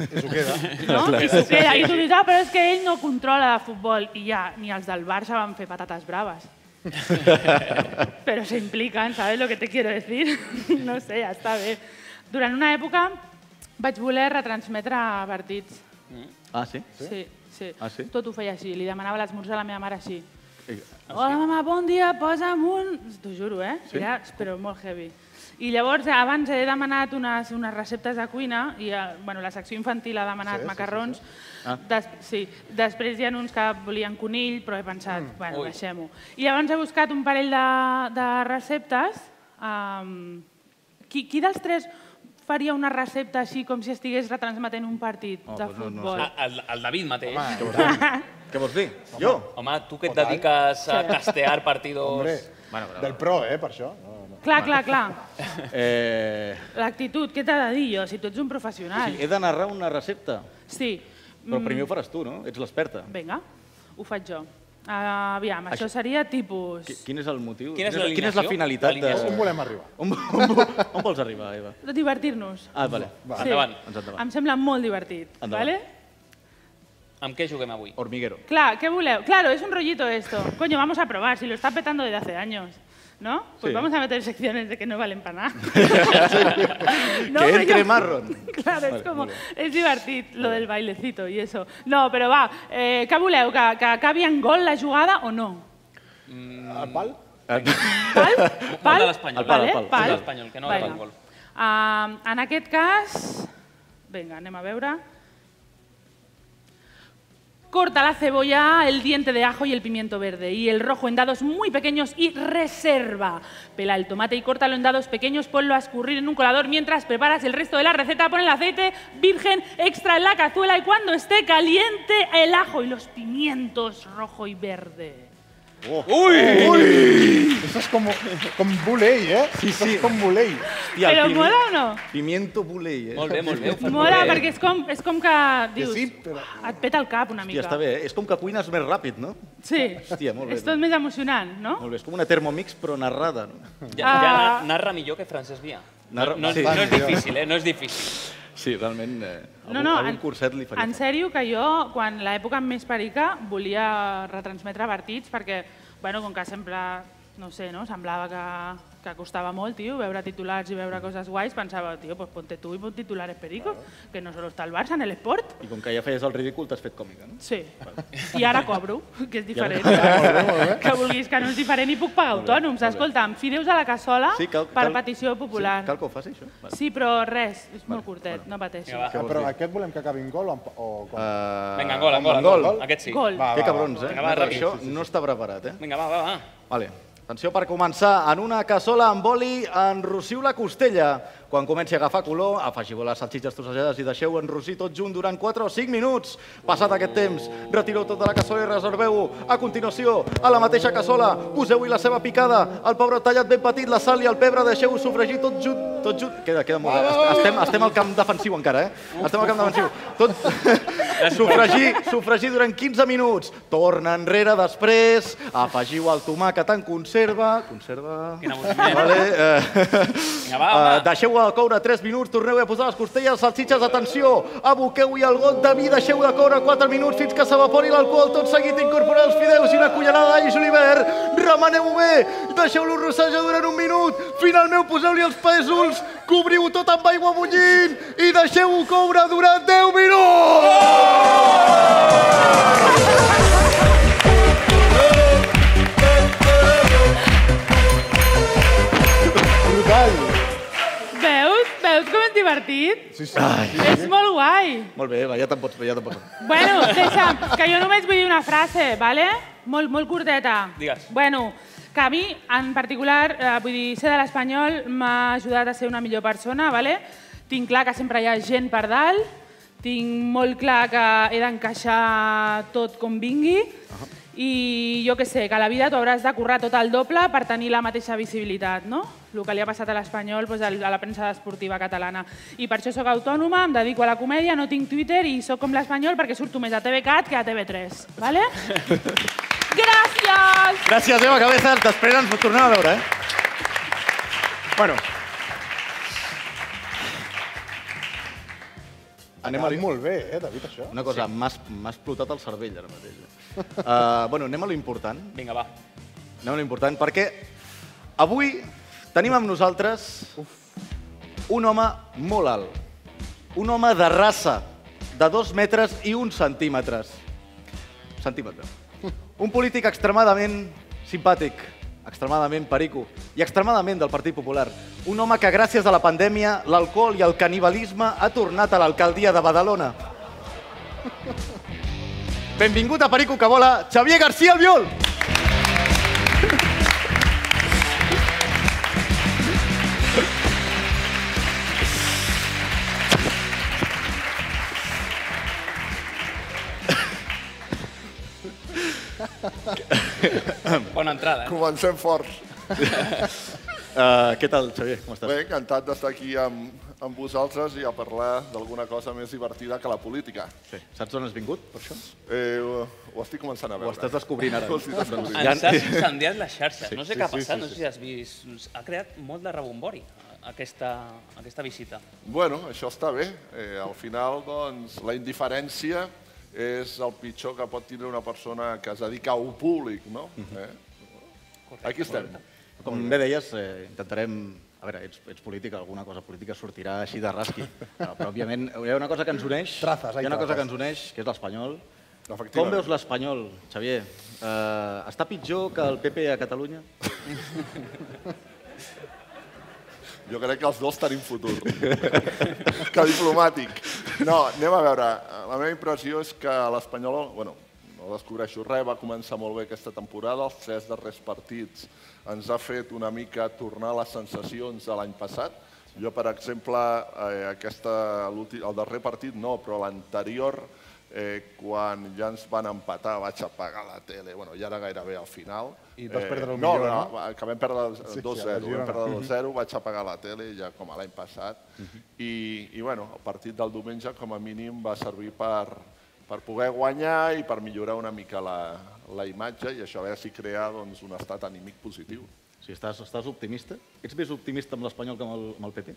Speaker 4: I s'ho queda.
Speaker 11: no? I s'ho queda. I tu dius, ah, però és que ell no controla de futbol. I ja, ni els del Barça van fer patates braves. Però s'impliquen, ¿sabes lo que te quiero decir? no sé, ja està bé. Durant una època vaig voler retransmetre partits.
Speaker 2: Ah, sí?
Speaker 11: Sí, sí.
Speaker 2: Ah, sí?
Speaker 11: Tot ho feia així. Li demanava l'esmorzar a la meva mare així.
Speaker 2: Eh,
Speaker 11: Hola, mama, bon dia, posa'm un... T'ho juro, eh?
Speaker 2: Sí?
Speaker 11: Era, però molt heavy. I llavors, eh, abans he demanat unes, unes receptes de cuina, i eh, bueno, la secció infantil ha demanat
Speaker 12: Sí, sí,
Speaker 11: sí, macarrons, sí,
Speaker 2: Ah.
Speaker 11: Des, sí. Després hi ha uns que volien conill, però he pensat, mm. bueno, deixem-ho. I llavors he buscat un parell de, de receptes. Um, qui, qui dels tres faria una recepta així com si estigués retransmetent un partit
Speaker 3: Oh,
Speaker 11: de
Speaker 3: doncs
Speaker 11: futbol?
Speaker 3: no, no sé. Ah, el, el David mateix.
Speaker 2: Què vols dir? Jo?
Speaker 3: Home, tu que et dediques a
Speaker 11: Sí.
Speaker 3: castear partidos...
Speaker 4: Hombre, del pro, eh, per això. No, no.
Speaker 11: Clar, clar, clar.
Speaker 2: Eh,
Speaker 11: L'actitud, què t'ha de dir jo, si tu ets un professional?
Speaker 2: he de narrar una recepta,
Speaker 11: Sí.
Speaker 2: però
Speaker 11: Ah. Mm,
Speaker 2: primer ho faràs tu, no? Ets l'experta.
Speaker 11: Vinga, ho faig jo. Uh, aviam, això, seria tipus...
Speaker 2: Qui- Quin és el motiu?
Speaker 11: Quina és
Speaker 2: Quina quina és la
Speaker 11: l'alineació?
Speaker 2: finalitat? De...
Speaker 11: L'alineació. On volem
Speaker 4: arribar?
Speaker 2: On, on, vo- on vols arribar, Eva?
Speaker 11: Divertir-nos.
Speaker 2: Ah, vale.
Speaker 11: Sí. Endavant.
Speaker 2: Doncs endavant.
Speaker 11: Em sembla molt divertit.
Speaker 2: Endavant.
Speaker 11: Vale?
Speaker 3: Amb què juguem avui?
Speaker 12: Oh.
Speaker 2: Hormiguero.
Speaker 11: Clar, ¿qué buleo? Claro, es un rollito esto. Coño, vamos a probar, si lo está petando desde hace años. ¿No? Pues
Speaker 2: Sí.
Speaker 11: vamos a meter secciones de que no valen para nada. No,
Speaker 2: que
Speaker 11: pero-
Speaker 2: entre Marron.
Speaker 11: Claro,
Speaker 2: Vale,
Speaker 11: es como,
Speaker 2: molt bé.
Speaker 11: es divertido lo del bailecito y eso. No, pero va, eh, ¿qué voleu? ¿Que, que acabi en gol la jugada o no?
Speaker 4: El pal?
Speaker 11: Pal?
Speaker 3: Pal
Speaker 11: Pal?
Speaker 3: de l'Espanyol.
Speaker 11: El pal, el pal.
Speaker 3: Pal de
Speaker 11: Pal.
Speaker 3: l'Espanyol, que no
Speaker 11: Vinga.
Speaker 3: el gol.
Speaker 11: Um, en aquest cas... Vinga, anem a veure. Corta la cebolla, el diente de ajo y el pimiento verde. Y el rojo en dados muy pequeños y reserva. Pela el tomate y córtalo en dados pequeños, ponlo a escurrir en un colador mientras preparas el resto de la receta. Pon el aceite virgen extra en la cazuela y cuando esté caliente el ajo y los pimientos rojo y verde. Oh.
Speaker 4: ¡Uy! ¡Uy! Esto es como, con bulei, ¿eh? Sí, sí. con bulei.
Speaker 11: Però mola o no?
Speaker 2: Pimiento bulei, eh?
Speaker 3: Molt bé, molt bé, ho fas
Speaker 11: Mola, perquè és com, és com que dius,
Speaker 2: sí,
Speaker 11: "Uah, et peta el cap una
Speaker 2: Hòstia,
Speaker 11: mica.
Speaker 2: està bé, eh? És com que cuines més ràpid, no?
Speaker 11: Sí,
Speaker 2: Hòstia, molt bé.
Speaker 11: és tot més emocionant, no?
Speaker 2: Molt bé, és com una Thermomix, però narrada, no?
Speaker 3: Ja,
Speaker 12: Ah.
Speaker 3: ja na- narra millor que Francesc Via.
Speaker 2: Narra-
Speaker 3: No, no,
Speaker 2: sí.
Speaker 3: és, no és difícil, eh? No és difícil.
Speaker 2: Sí, realment, eh, algun,
Speaker 11: No, no,
Speaker 2: algun
Speaker 11: en-
Speaker 2: curset li faria.
Speaker 11: En sèrio que jo, quan l'època més perica, volia retransmetre partits perquè, bueno, com que sempre, no ho sé, no? semblava que, que costava molt, tio, veure titulars i veure coses guais, pensava, tio, pues ponte tu i pon titulares pericos, que no solo está el Barça en el esport.
Speaker 2: I com que ja feies el ridícul, t'has fet còmica, no?
Speaker 11: Sí. I ara cobro, que és
Speaker 2: I ara-
Speaker 11: diferent.
Speaker 2: Molt bé, molt bé.
Speaker 11: que vulguis que no és diferent i puc pagar autònoms. Escolta'm, fideus a la cassola
Speaker 2: Sí, cal-
Speaker 11: per
Speaker 2: cal-
Speaker 11: petició popular.
Speaker 2: Sí, cal que ho faci, això? Vale.
Speaker 11: Sí, però res, és molt curtet, no pateixis.
Speaker 4: Ah, però aquest volem que acabi en gol o, amb- o com? Ah,
Speaker 2: Uh,
Speaker 3: Vinga, gol, gol, gol. Aquest sí. Gol.
Speaker 2: que cabrons, eh?
Speaker 3: Vinga, va, ràpid.
Speaker 2: Això no està preparat, eh?
Speaker 3: Vinga, va, va, va.
Speaker 2: Vale. Atenció per començar. En una cassola amb oli enrossiu la costella. Quan comenci a agafar color, afegiu les salsitxes trossejades i deixeu enrossir tot junt durant 4 o 5 minuts. Passat aquest temps, retireu tota la cassola i reserveu-ho. A continuació, a la mateixa cassola, poseu-hi la ceba picada, el pebre tallat ben petit, la sal i el pebre, deixeu-ho sofregir tot junt. Tot junt. Queda, queda molt bé. Est- Estem, estem al camp defensiu encara, eh? Estem al camp defensiu. Tot... sofregir, sofregir durant 15 minuts. Torna enrere després, afegiu el tomàquet en conserva. Conserva...
Speaker 3: Quin avorriment.
Speaker 2: Vale, eh,
Speaker 3: Vinga, va, Ah,
Speaker 12: Ah,
Speaker 3: home.
Speaker 2: eh, deixeu-ho a coure 3 minuts, torneu a posar les costelles, salsitxes, atenció, aboqueu-hi el got de vi, deixeu-ho a coure 4 minuts fins que s'evapori l'alcohol, tot seguit incorporeu els fideus i una cullerada d'all i julivert, remeneu-ho bé, deixeu-lo rossejar durant un minut, finalment poseu-li els pèsols, cobriu-ho tot amb aigua bullint i deixeu-ho coure durant 10 minuts!
Speaker 4: Brutal!
Speaker 11: Veus? Veus com és divertit?
Speaker 2: Sí, sí. Ai.
Speaker 11: És molt guai.
Speaker 2: Molt bé, Eva, ja te'n pots, ja te'n pots.
Speaker 11: Bueno, deixa'm, que jo només vull dir una frase, vale? Molt, molt curteta.
Speaker 2: Digues.
Speaker 11: Bueno, que a mi, en particular, eh, vull dir, ser de l'Espanyol m'ha ajudat a ser una millor persona, vale? Tinc clar que sempre hi ha gent per dalt, tinc molt clar que he d'encaixar tot com vingui, i jo que sé, que a la vida tu hauràs de currar tot el doble per tenir la mateixa visibilitat, no? El que li ha passat a l'Espanyol doncs, al- a la premsa esportiva catalana. I per això sóc autònoma, em dedico a la comèdia, no tinc Twitter i sóc com l'Espanyol perquè surto més a TVCAT que a TV3, ¿vale? Gràcies!
Speaker 2: Gràcies, Eva Cabezas. Després ens tornem a veure, eh? Bueno. Anem a...
Speaker 4: Molt bé, eh, David, això?
Speaker 2: Una cosa, sí. m'has m'ha explotat el cervell ara mateix. eh? Uh, bueno, anem a lo important.
Speaker 3: Vinga, va.
Speaker 2: Anem a lo important perquè avui tenim amb nosaltres un home molt alt. Un home de raça, de dos metres i uns centímetres. Centímetre. Un polític extremadament simpàtic, extremadament perico i extremadament del Partit Popular. Un home que gràcies a la pandèmia, l'alcohol i el canibalisme ha tornat a l'alcaldia de Badalona. Benvingut a Perico que vola, Xavier García Albiol!
Speaker 3: Bona entrada, eh?
Speaker 12: Comencem forts.
Speaker 2: Uh, què tal, Xavier? Com estàs?
Speaker 12: Bé, encantat d'estar aquí amb, amb vosaltres i a parlar d'alguna cosa més divertida que la política.
Speaker 2: Sí. Saps on has vingut, per això?
Speaker 12: Eh, ho, ho estic començant a veure.
Speaker 2: estàs descobrint ara.
Speaker 12: Ho estic descobrint.
Speaker 3: Ens has incendiat les xarxes.
Speaker 12: Sí,
Speaker 3: no sé
Speaker 12: sí,
Speaker 3: què ha
Speaker 12: sí,
Speaker 3: passat,
Speaker 12: sí,
Speaker 3: no sé
Speaker 12: sí.
Speaker 3: si has vist. Ha creat molt de rebombori a- aquesta, aquesta visita.
Speaker 12: Bueno, això està bé. Eh, al final, doncs, la indiferència és el pitjor que pot tindre una persona que es dedica a un públic, no? eh? Aquí estem.
Speaker 2: Com bé deies, eh, intentarem... A veure, ets, ets política, alguna cosa política sortirà així de rasqui. No, però, òbviament, hi ha una cosa que ens uneix.
Speaker 4: Trazes, hay
Speaker 2: hi ha una cosa
Speaker 4: trazes.
Speaker 2: que ens uneix, que és l'espanyol.
Speaker 12: Efectivament.
Speaker 2: Com veus l'espanyol, Xavier? Uh, està pitjor que el PP a Catalunya? Jo crec que els dos tenim futur. que diplomàtic. No, anem a veure. La meva impressió és que l'Espanyol, bueno, no descobreixo res, va començar molt bé aquesta temporada, els tres darrers partits ens ha fet una mica tornar les sensacions de l'any passat. Jo, per exemple, eh, aquesta, l'últim- el darrer partit no, però l'anterior, eh, quan ja ens van empatar, vaig apagar la tele, bueno, ja era gairebé al final. Eh,
Speaker 4: I vas perdre el
Speaker 2: no,
Speaker 4: millor,
Speaker 2: no,
Speaker 4: no?
Speaker 2: va- que vam perdre
Speaker 4: Sí, sí,
Speaker 2: eh, 2-0,
Speaker 4: a Girona.
Speaker 2: vam perdre
Speaker 4: Mhm.
Speaker 2: 2-0, vaig apagar la tele ja com a l'any passat i, i bueno, el partit del diumenge com a mínim va servir per, per poder guanyar i per millorar una mica la, la imatge i això a veure si crea doncs, un estat anímic positiu.
Speaker 7: Si estàs, estàs optimista? Ets més optimista amb l'Espanyol que amb el, amb el PP?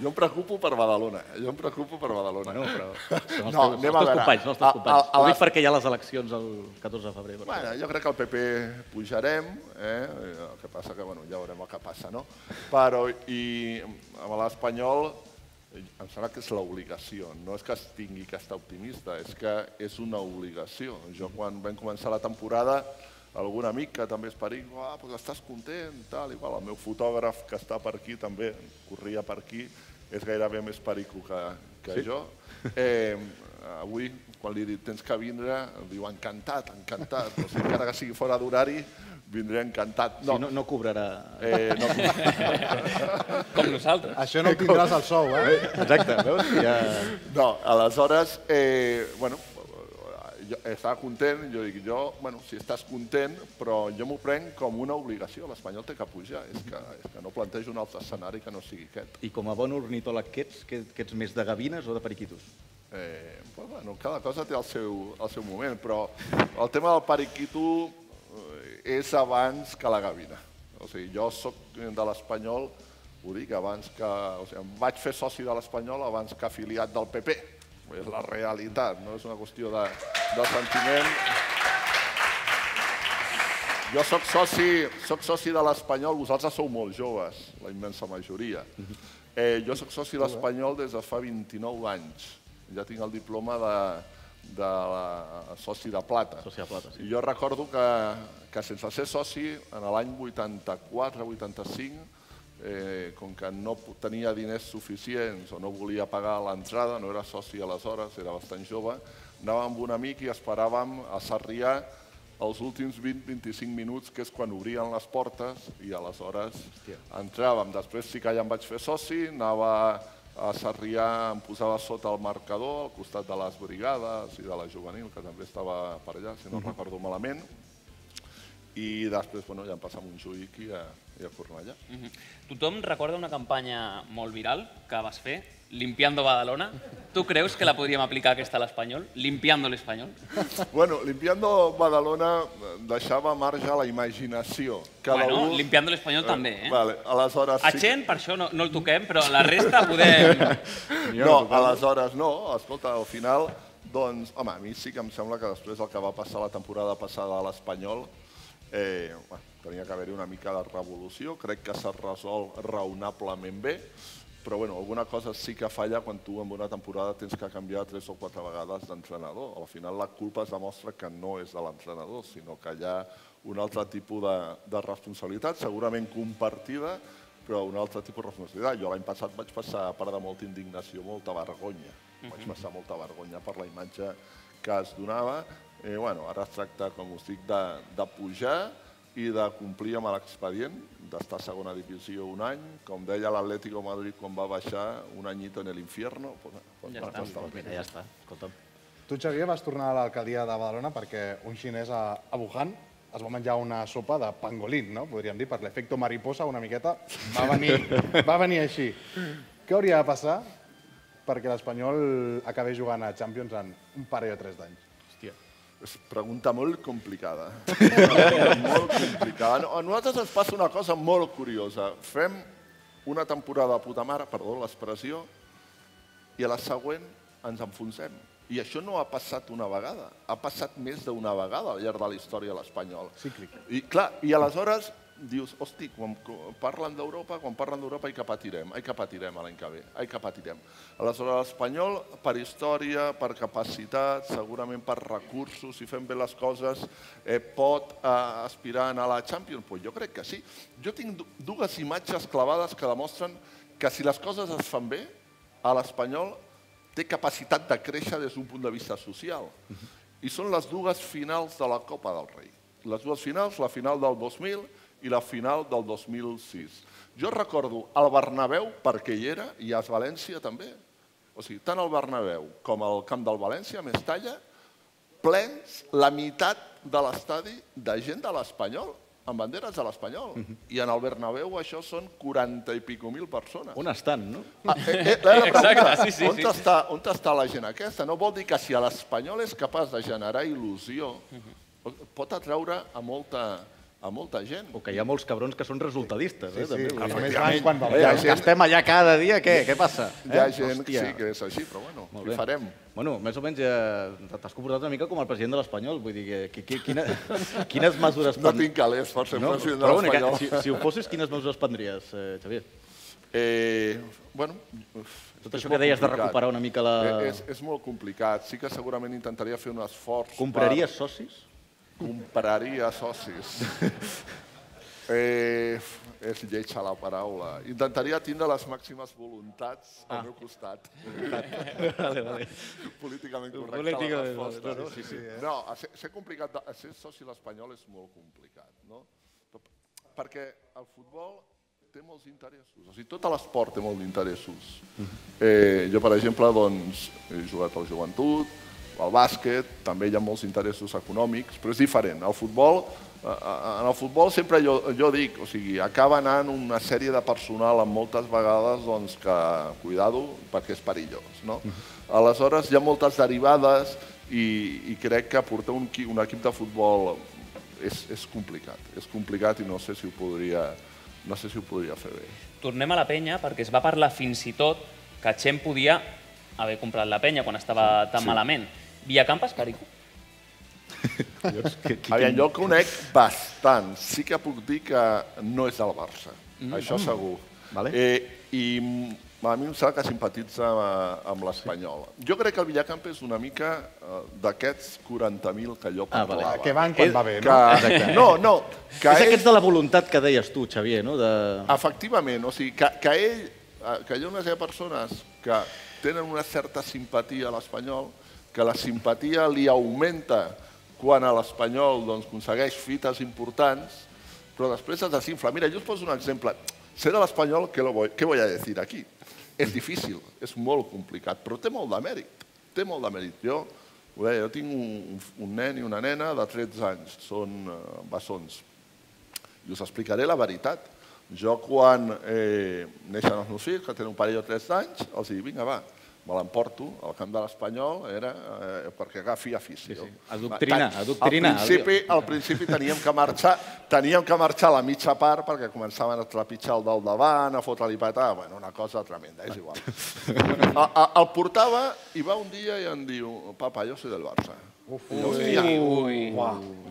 Speaker 2: Jo em preocupo per Badalona. eh? Jo em preocupo per Badalona.
Speaker 7: Bueno, però són els
Speaker 2: no,
Speaker 7: teus,
Speaker 2: anem
Speaker 7: els
Speaker 2: a
Speaker 7: teus
Speaker 2: veure.
Speaker 7: companys, no els teus companys.
Speaker 2: A, a,
Speaker 7: Ho
Speaker 2: a,
Speaker 7: dic perquè hi ha les eleccions el 14 de febrer. per
Speaker 2: Bueno,
Speaker 7: tant.
Speaker 2: jo crec que el PP pujarem, eh? el que passa que bueno, ja veurem el que passa, no? Però i amb l'Espanyol em sembla que és l'obligació, no és que es tingui que estar optimista, és que és una obligació. Jo quan vam començar la temporada, algun amic que també és perill, ah, però estàs content, tal, igual, el meu fotògraf que està per aquí també, corria per aquí, és gairebé més perico que, que
Speaker 7: Sí?
Speaker 2: jo. Eh, avui, quan li he dit tens que vindre, em diu encantat, encantat. O sigui, encara que sigui fora d'horari, vindré encantat. No,
Speaker 7: Sí, no- no cobrarà.
Speaker 2: Eh, no cobrarà.
Speaker 3: Com nosaltres.
Speaker 4: Això no ho tindràs al sou, eh?
Speaker 7: Exacte, veus? Ja...
Speaker 2: No, aleshores, eh, bueno, jo estava content, jo dic, jo, bueno, si estàs content, però jo m'ho prenc com una obligació, l'Espanyol té que pujar, és que, és que no plantejo un altre escenari que no sigui aquest.
Speaker 7: I com a bon ornitòleg que ets, que, que ets més de gavines o de periquitos?
Speaker 2: Eh, però, bueno, cada cosa té el seu, el seu moment, però el tema del periquito eh, és abans que la gavina. O sigui, jo sóc de l'Espanyol, ho dic, abans que... O sigui, em vaig fer soci de l'Espanyol abans que afiliat del PP. És la realitat, no és una qüestió de, de sentiment. Jo sóc soci, sóc soci de l'Espanyol, vosaltres sou molt joves, la immensa majoria. Eh, jo sóc soci de l'Espanyol des de fa 29 anys. Ja tinc el diploma de, de
Speaker 12: eh,
Speaker 2: la, soci de plata.
Speaker 7: Soci de plata, sí.
Speaker 2: I jo recordo que, que sense ser soci, en l'any 84-85, eh, com que no po- tenia diners suficients o no volia pagar l'entrada, no era soci aleshores, era bastant jove, anàvem amb un amic i esperàvem a Sarrià els últims 20-25 minuts, que és quan obrien les portes, i aleshores entràvem. Després sí que ja em vaig fer soci, anava a Sarrià, em posava sota el marcador, al costat de les brigades i de la juvenil, que també estava per allà, si no
Speaker 7: Mhm.
Speaker 2: recordo malament. I després bueno, ja em passava un Montjuïc i a, i a Cornellà.
Speaker 3: Mhm. Tothom recorda una campanya molt viral que vas fer, Limpiando Badalona. Tu creus que la podríem aplicar aquesta a l'Espanyol? Limpiando l'Espanyol?
Speaker 2: Bueno, Limpiando Badalona eh, deixava marge a la imaginació.
Speaker 3: Bueno, Limpiando l'Espanyol també, eh?
Speaker 2: Vale, aleshores...
Speaker 3: A
Speaker 2: sí que-
Speaker 3: Chen, per això no, no el toquem, però la resta podem...
Speaker 2: No, aleshores no. Escolta, al final, doncs, home, a mi sí que em sembla que després del que va passar la temporada passada a l'Espanyol, eh, bueno, tenia que haver-hi una mica de revolució, crec que s'ha resolt raonablement bé, però bueno, alguna cosa sí que falla quan tu en una temporada tens que canviar tres o quatre vegades d'entrenador. Al final la culpa es demostra que no és de l'entrenador, sinó que hi ha un altre tipus de, de responsabilitat, segurament compartida, però un altre tipus de responsabilitat. Jo l'any passat vaig passar, a part de molta indignació, molta vergonya. Vaig
Speaker 13: Mhm.
Speaker 2: passar molta vergonya per la imatge que es donava. Eh, bueno, ara es tracta, com us dic, de, de pujar i de complir amb l'expedient, d'estar a segona divisió un any. Com deia l'Atlético Madrid quan va baixar, un anyito en el infierno. Pues, pues,
Speaker 7: Ja
Speaker 2: vas
Speaker 7: està,
Speaker 2: estar la
Speaker 7: mira,
Speaker 2: pena.
Speaker 7: ja està. Escolta'm.
Speaker 4: Tu, Xavier, vas tornar a l'alcaldia de Badalona perquè un xinès a, a Wuhan es va menjar una sopa de pangolín, no? podríem dir, per l'efecte mariposa una miqueta. Va venir, va venir així. Què hauria de passar perquè l'Espanyol acabés jugant a Champions en un parell o tres d'anys?
Speaker 2: Hòstia. És pregunta molt complicada. molt complicada. No, A nosaltres ens passa una cosa molt curiosa. Fem una temporada de puta mare, perdó l'expressió, i a la següent ens enfonsem. I això no ha passat una vegada, ha passat més d'una vegada al llarg de la història de l'Espanyol.
Speaker 4: Cíclic.
Speaker 2: I clar, i aleshores
Speaker 12: dius, hosti, quan co- parlen d'Europa, quan parlen d'Europa, ai que patirem, ai que patirem l'any que ve, ai que patirem. Aleshores, l'espanyol, per història, per capacitat, segurament per recursos, si fem bé les coses, eh, pot eh, aspirar a anar a la Champions? Pues jo crec que sí. Jo tinc du- dues imatges clavades que demostren que si les coses es fan bé, a l'espanyol té capacitat de créixer des d'un punt de vista social. I són les dues finals de la Copa del Rei. Les dues finals, la final del 2000 i la final del 2006. Jo recordo el Bernabéu, perquè hi era, i a València també. O sigui, tant el Bernabéu com el Camp del València, a Mestalla, plens la meitat de l'estadi de gent de l'Espanyol, amb banderes de l'Espanyol. I en el Bernabéu això són 40 i pico mil persones.
Speaker 2: On estan, no?
Speaker 12: Ah, eh, eh, la pregunta,
Speaker 2: Exacte, sí, sí,
Speaker 12: on,
Speaker 2: sí.
Speaker 12: Està, on està la gent aquesta? No vol dir que si a l'Espanyol és capaç de generar il·lusió, pot atraure a molta, a molta gent.
Speaker 2: O que hi ha molts cabrons que són resultadistes,
Speaker 12: Sí,
Speaker 2: eh?
Speaker 12: sí,
Speaker 2: també.
Speaker 12: i a més van quan va
Speaker 2: Hi ha
Speaker 12: bé.
Speaker 2: gent... Estem allà cada dia, què? Què passa? eh?
Speaker 12: Hi ha gent que sí que és així, però bueno,
Speaker 2: Molt
Speaker 12: què
Speaker 2: bé.
Speaker 12: farem?
Speaker 2: Bueno, més o menys ja t'has comportat una mica com el president de l'Espanyol, vull dir, que, que, que quina, quines mesures...
Speaker 12: No tinc calés per ser president de
Speaker 2: Doncs però bueno, que- Si,
Speaker 12: l'Espanyol.
Speaker 2: si ho fossis, quines mesures prendries, eh, Xavier?
Speaker 12: Eh, bueno, uf,
Speaker 2: Tot
Speaker 12: és
Speaker 2: això
Speaker 12: molt
Speaker 2: que deies de
Speaker 12: complicat.
Speaker 2: recuperar una mica la-
Speaker 12: Eh, És, és molt complicat. Sí que segurament intentaria fer un esforç...
Speaker 2: Compraries socis?
Speaker 12: Compraria socis. eh, és lleig a la paraula. Intentaria tindre les màximes voluntats
Speaker 2: Ah.
Speaker 12: al meu costat.
Speaker 2: Vale, vale.
Speaker 12: Políticament correcte la
Speaker 2: Políticament,
Speaker 12: resposta.
Speaker 2: no, no, sí,
Speaker 12: sí, sí.
Speaker 2: sí, eh?
Speaker 12: no a ser, ser, complicat, de- a ser soci de l'espanyol és molt complicat. No? Perquè el futbol té molts interessos. O sigui, tot l'esport té molt d'interessos.
Speaker 2: Mm.
Speaker 12: Eh, jo, per exemple, doncs, he jugat al joventut, al bàsquet, també hi ha molts interessos econòmics, però és diferent. El futbol, eh, eh, en el futbol sempre jo, jo dic, o sigui, acaba anant una sèrie de personal amb moltes vegades doncs, que, cuidado, perquè és perillós. No? Aleshores, hi ha moltes derivades i, i crec que portar un, qui- un equip de futbol és, és complicat. És complicat i no sé si ho podria, no sé si ho podria fer bé.
Speaker 3: Tornem a la penya, perquè es va parlar fins i tot que Txem podia haver comprat la penya quan estava tan
Speaker 12: Sí.
Speaker 3: sí. malament. Villacampas, Perico?
Speaker 12: Aviam, jo el conec bastant. Ah, Sí que puc dir que no és del Barça,
Speaker 2: Mm.
Speaker 12: mm. això
Speaker 2: Mm.
Speaker 12: segur.
Speaker 2: Vale.
Speaker 12: Eh, I mm, a mi em sembla que simpatitza eh, amb l'Espanyol. Jo crec que el Villacamp és una mica eh, d'aquests 40.000 que jo
Speaker 2: Ah, vale.
Speaker 12: parlava.
Speaker 2: Que van quan va bé, no?
Speaker 12: Que...
Speaker 2: Exacte.
Speaker 12: No, no. Que
Speaker 2: és
Speaker 12: ell-
Speaker 2: aquests de la voluntat que deies tu, Xavier, no? De...
Speaker 12: Efectivament, o sigui, que, que ell, eh, que hi ha unes persones que tenen una certa simpatia a l'espanyol, que la simpatia li augmenta quan a l'espanyol doncs, aconsegueix fites importants, però després es desinfla. Mira, jo us poso un exemple. Ser de l'espanyol, què, lo voy, què voy a decir aquí? És difícil, és molt complicat, però té molt de mèrit. Té molt de mèrit. Jo, ho deia, jo tinc un, un nen i una nena de 13 anys, són eh, bessons, i us explicaré la veritat. Jo quan eh, neixen els meus fills, que tenen un parell o tres d'anys, els dic, vinga, va, me l'emporto al camp de l'Espanyol era eh, perquè agafi afició. Sí, sí.
Speaker 2: Adoctrinar, adoctrinar,
Speaker 12: Al principi, al principi teníem que marxar teníem que marxar a la mitja part perquè començaven a trepitjar el del davant, a fotre-li patada, bueno, una cosa tremenda, és igual. a, a, el portava i va un dia i em diu, papa, jo soy del Barça. Uf,
Speaker 2: ui,
Speaker 3: ui.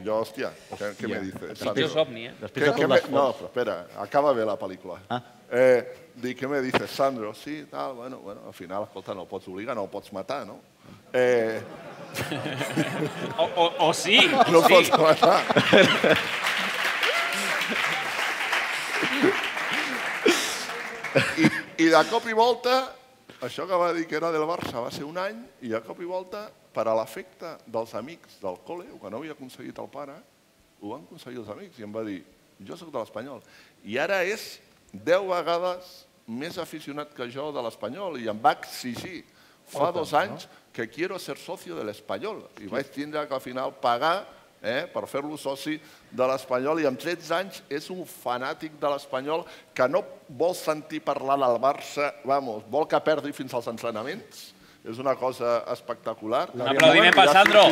Speaker 12: Jo, hòstia, què, què me dices?
Speaker 3: El pitjor somni, eh?
Speaker 12: Després de tot l'esforç. No, però espera, acaba bé la pel·lícula. Ah. Eh, dic, què me dices, Sandro? Sí, tal, bueno, bueno, al final, escolta, no el pots obligar, no el pots matar, no? Eh...
Speaker 3: O, o, o sí,
Speaker 12: No
Speaker 3: o
Speaker 12: el
Speaker 3: sí.
Speaker 12: pots matar. I, I de cop i volta, això que va dir que era del Barça va ser un any, i de cop i volta, per a l'efecte dels amics del col·le, el que no havia aconseguit el pare, ho van aconseguir els amics i em va dir, jo sóc de l'Espanyol. I ara és 10 vegades més aficionat que jo de l'Espanyol i em va exigir fa
Speaker 2: Fotem,
Speaker 12: dos anys que quiero ser socio de l'Espanyol. I vaig tindre que al final pagar eh, per fer-lo soci de l'Espanyol i amb 13 anys és un fanàtic de l'Espanyol que no vol sentir parlar del Barça, vamos, vol que perdi fins als entrenaments. És una cosa espectacular.
Speaker 3: Un aplaudiment per Sandro.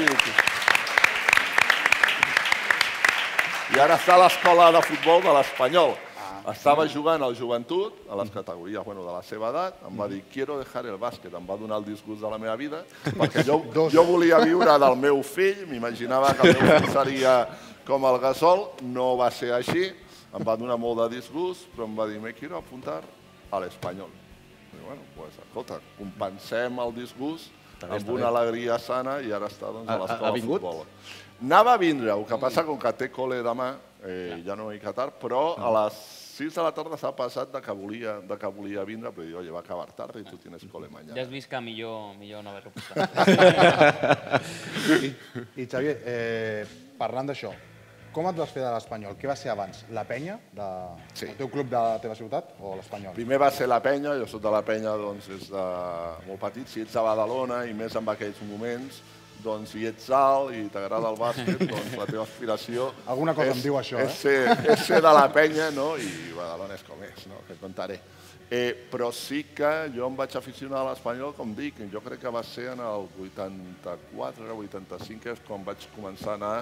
Speaker 12: I ara està a l'escola de futbol de l'Espanyol.
Speaker 2: Ah.
Speaker 12: Estava jugant al joventut, a les categories bueno, de la seva edat, em va dir, quiero dejar el bàsquet. Em va donar el disgust de la meva vida, perquè jo, jo volia viure del meu fill, m'imaginava que el meu fill seria com el Gasol, no va ser així. Em va donar molt de disgust, però em va dir, me quiero apuntar a l'espanyol. Dic, bueno, pues, escolta, compensem el disgust
Speaker 2: Està bé,
Speaker 12: amb
Speaker 2: està
Speaker 12: una
Speaker 2: bé.
Speaker 12: alegria sana i ara està doncs,
Speaker 2: Ha-
Speaker 12: a
Speaker 2: ha-
Speaker 12: l'escola
Speaker 2: ha
Speaker 12: de
Speaker 2: vingut?
Speaker 12: futbol. Anava a vindre, el que passa com que té col·le demà, eh, ja no he tard, però a les 6 de la tarda s'ha passat de que volia, de que volia vindre, però dic, oye, va acabar tard i tu tienes cole mañana.
Speaker 3: Ja has vist que millor, millor no haver-ho
Speaker 4: I,
Speaker 3: posat.
Speaker 4: I Xavier, eh, parlant d'això, com et vas fer de l'Espanyol? Què va ser abans? La penya? De, sí. El teu club de la teva ciutat o l'Espanyol?
Speaker 12: Primer va ser la penya, jo soc de la penya doncs, des de molt petit, si ets de Badalona i més en aquells moments, doncs si ets alt i t'agrada el bàsquet, doncs la teva aspiració...
Speaker 4: Alguna cosa em diu això,
Speaker 12: és
Speaker 4: eh?
Speaker 12: Ser, és ser de la penya, no? I Badalona és com és, no? Que et contaré. Eh, però sí que jo em vaig aficionar a l'espanyol, com dic, jo crec que va ser en el 84 o 85, que és quan vaig començar a anar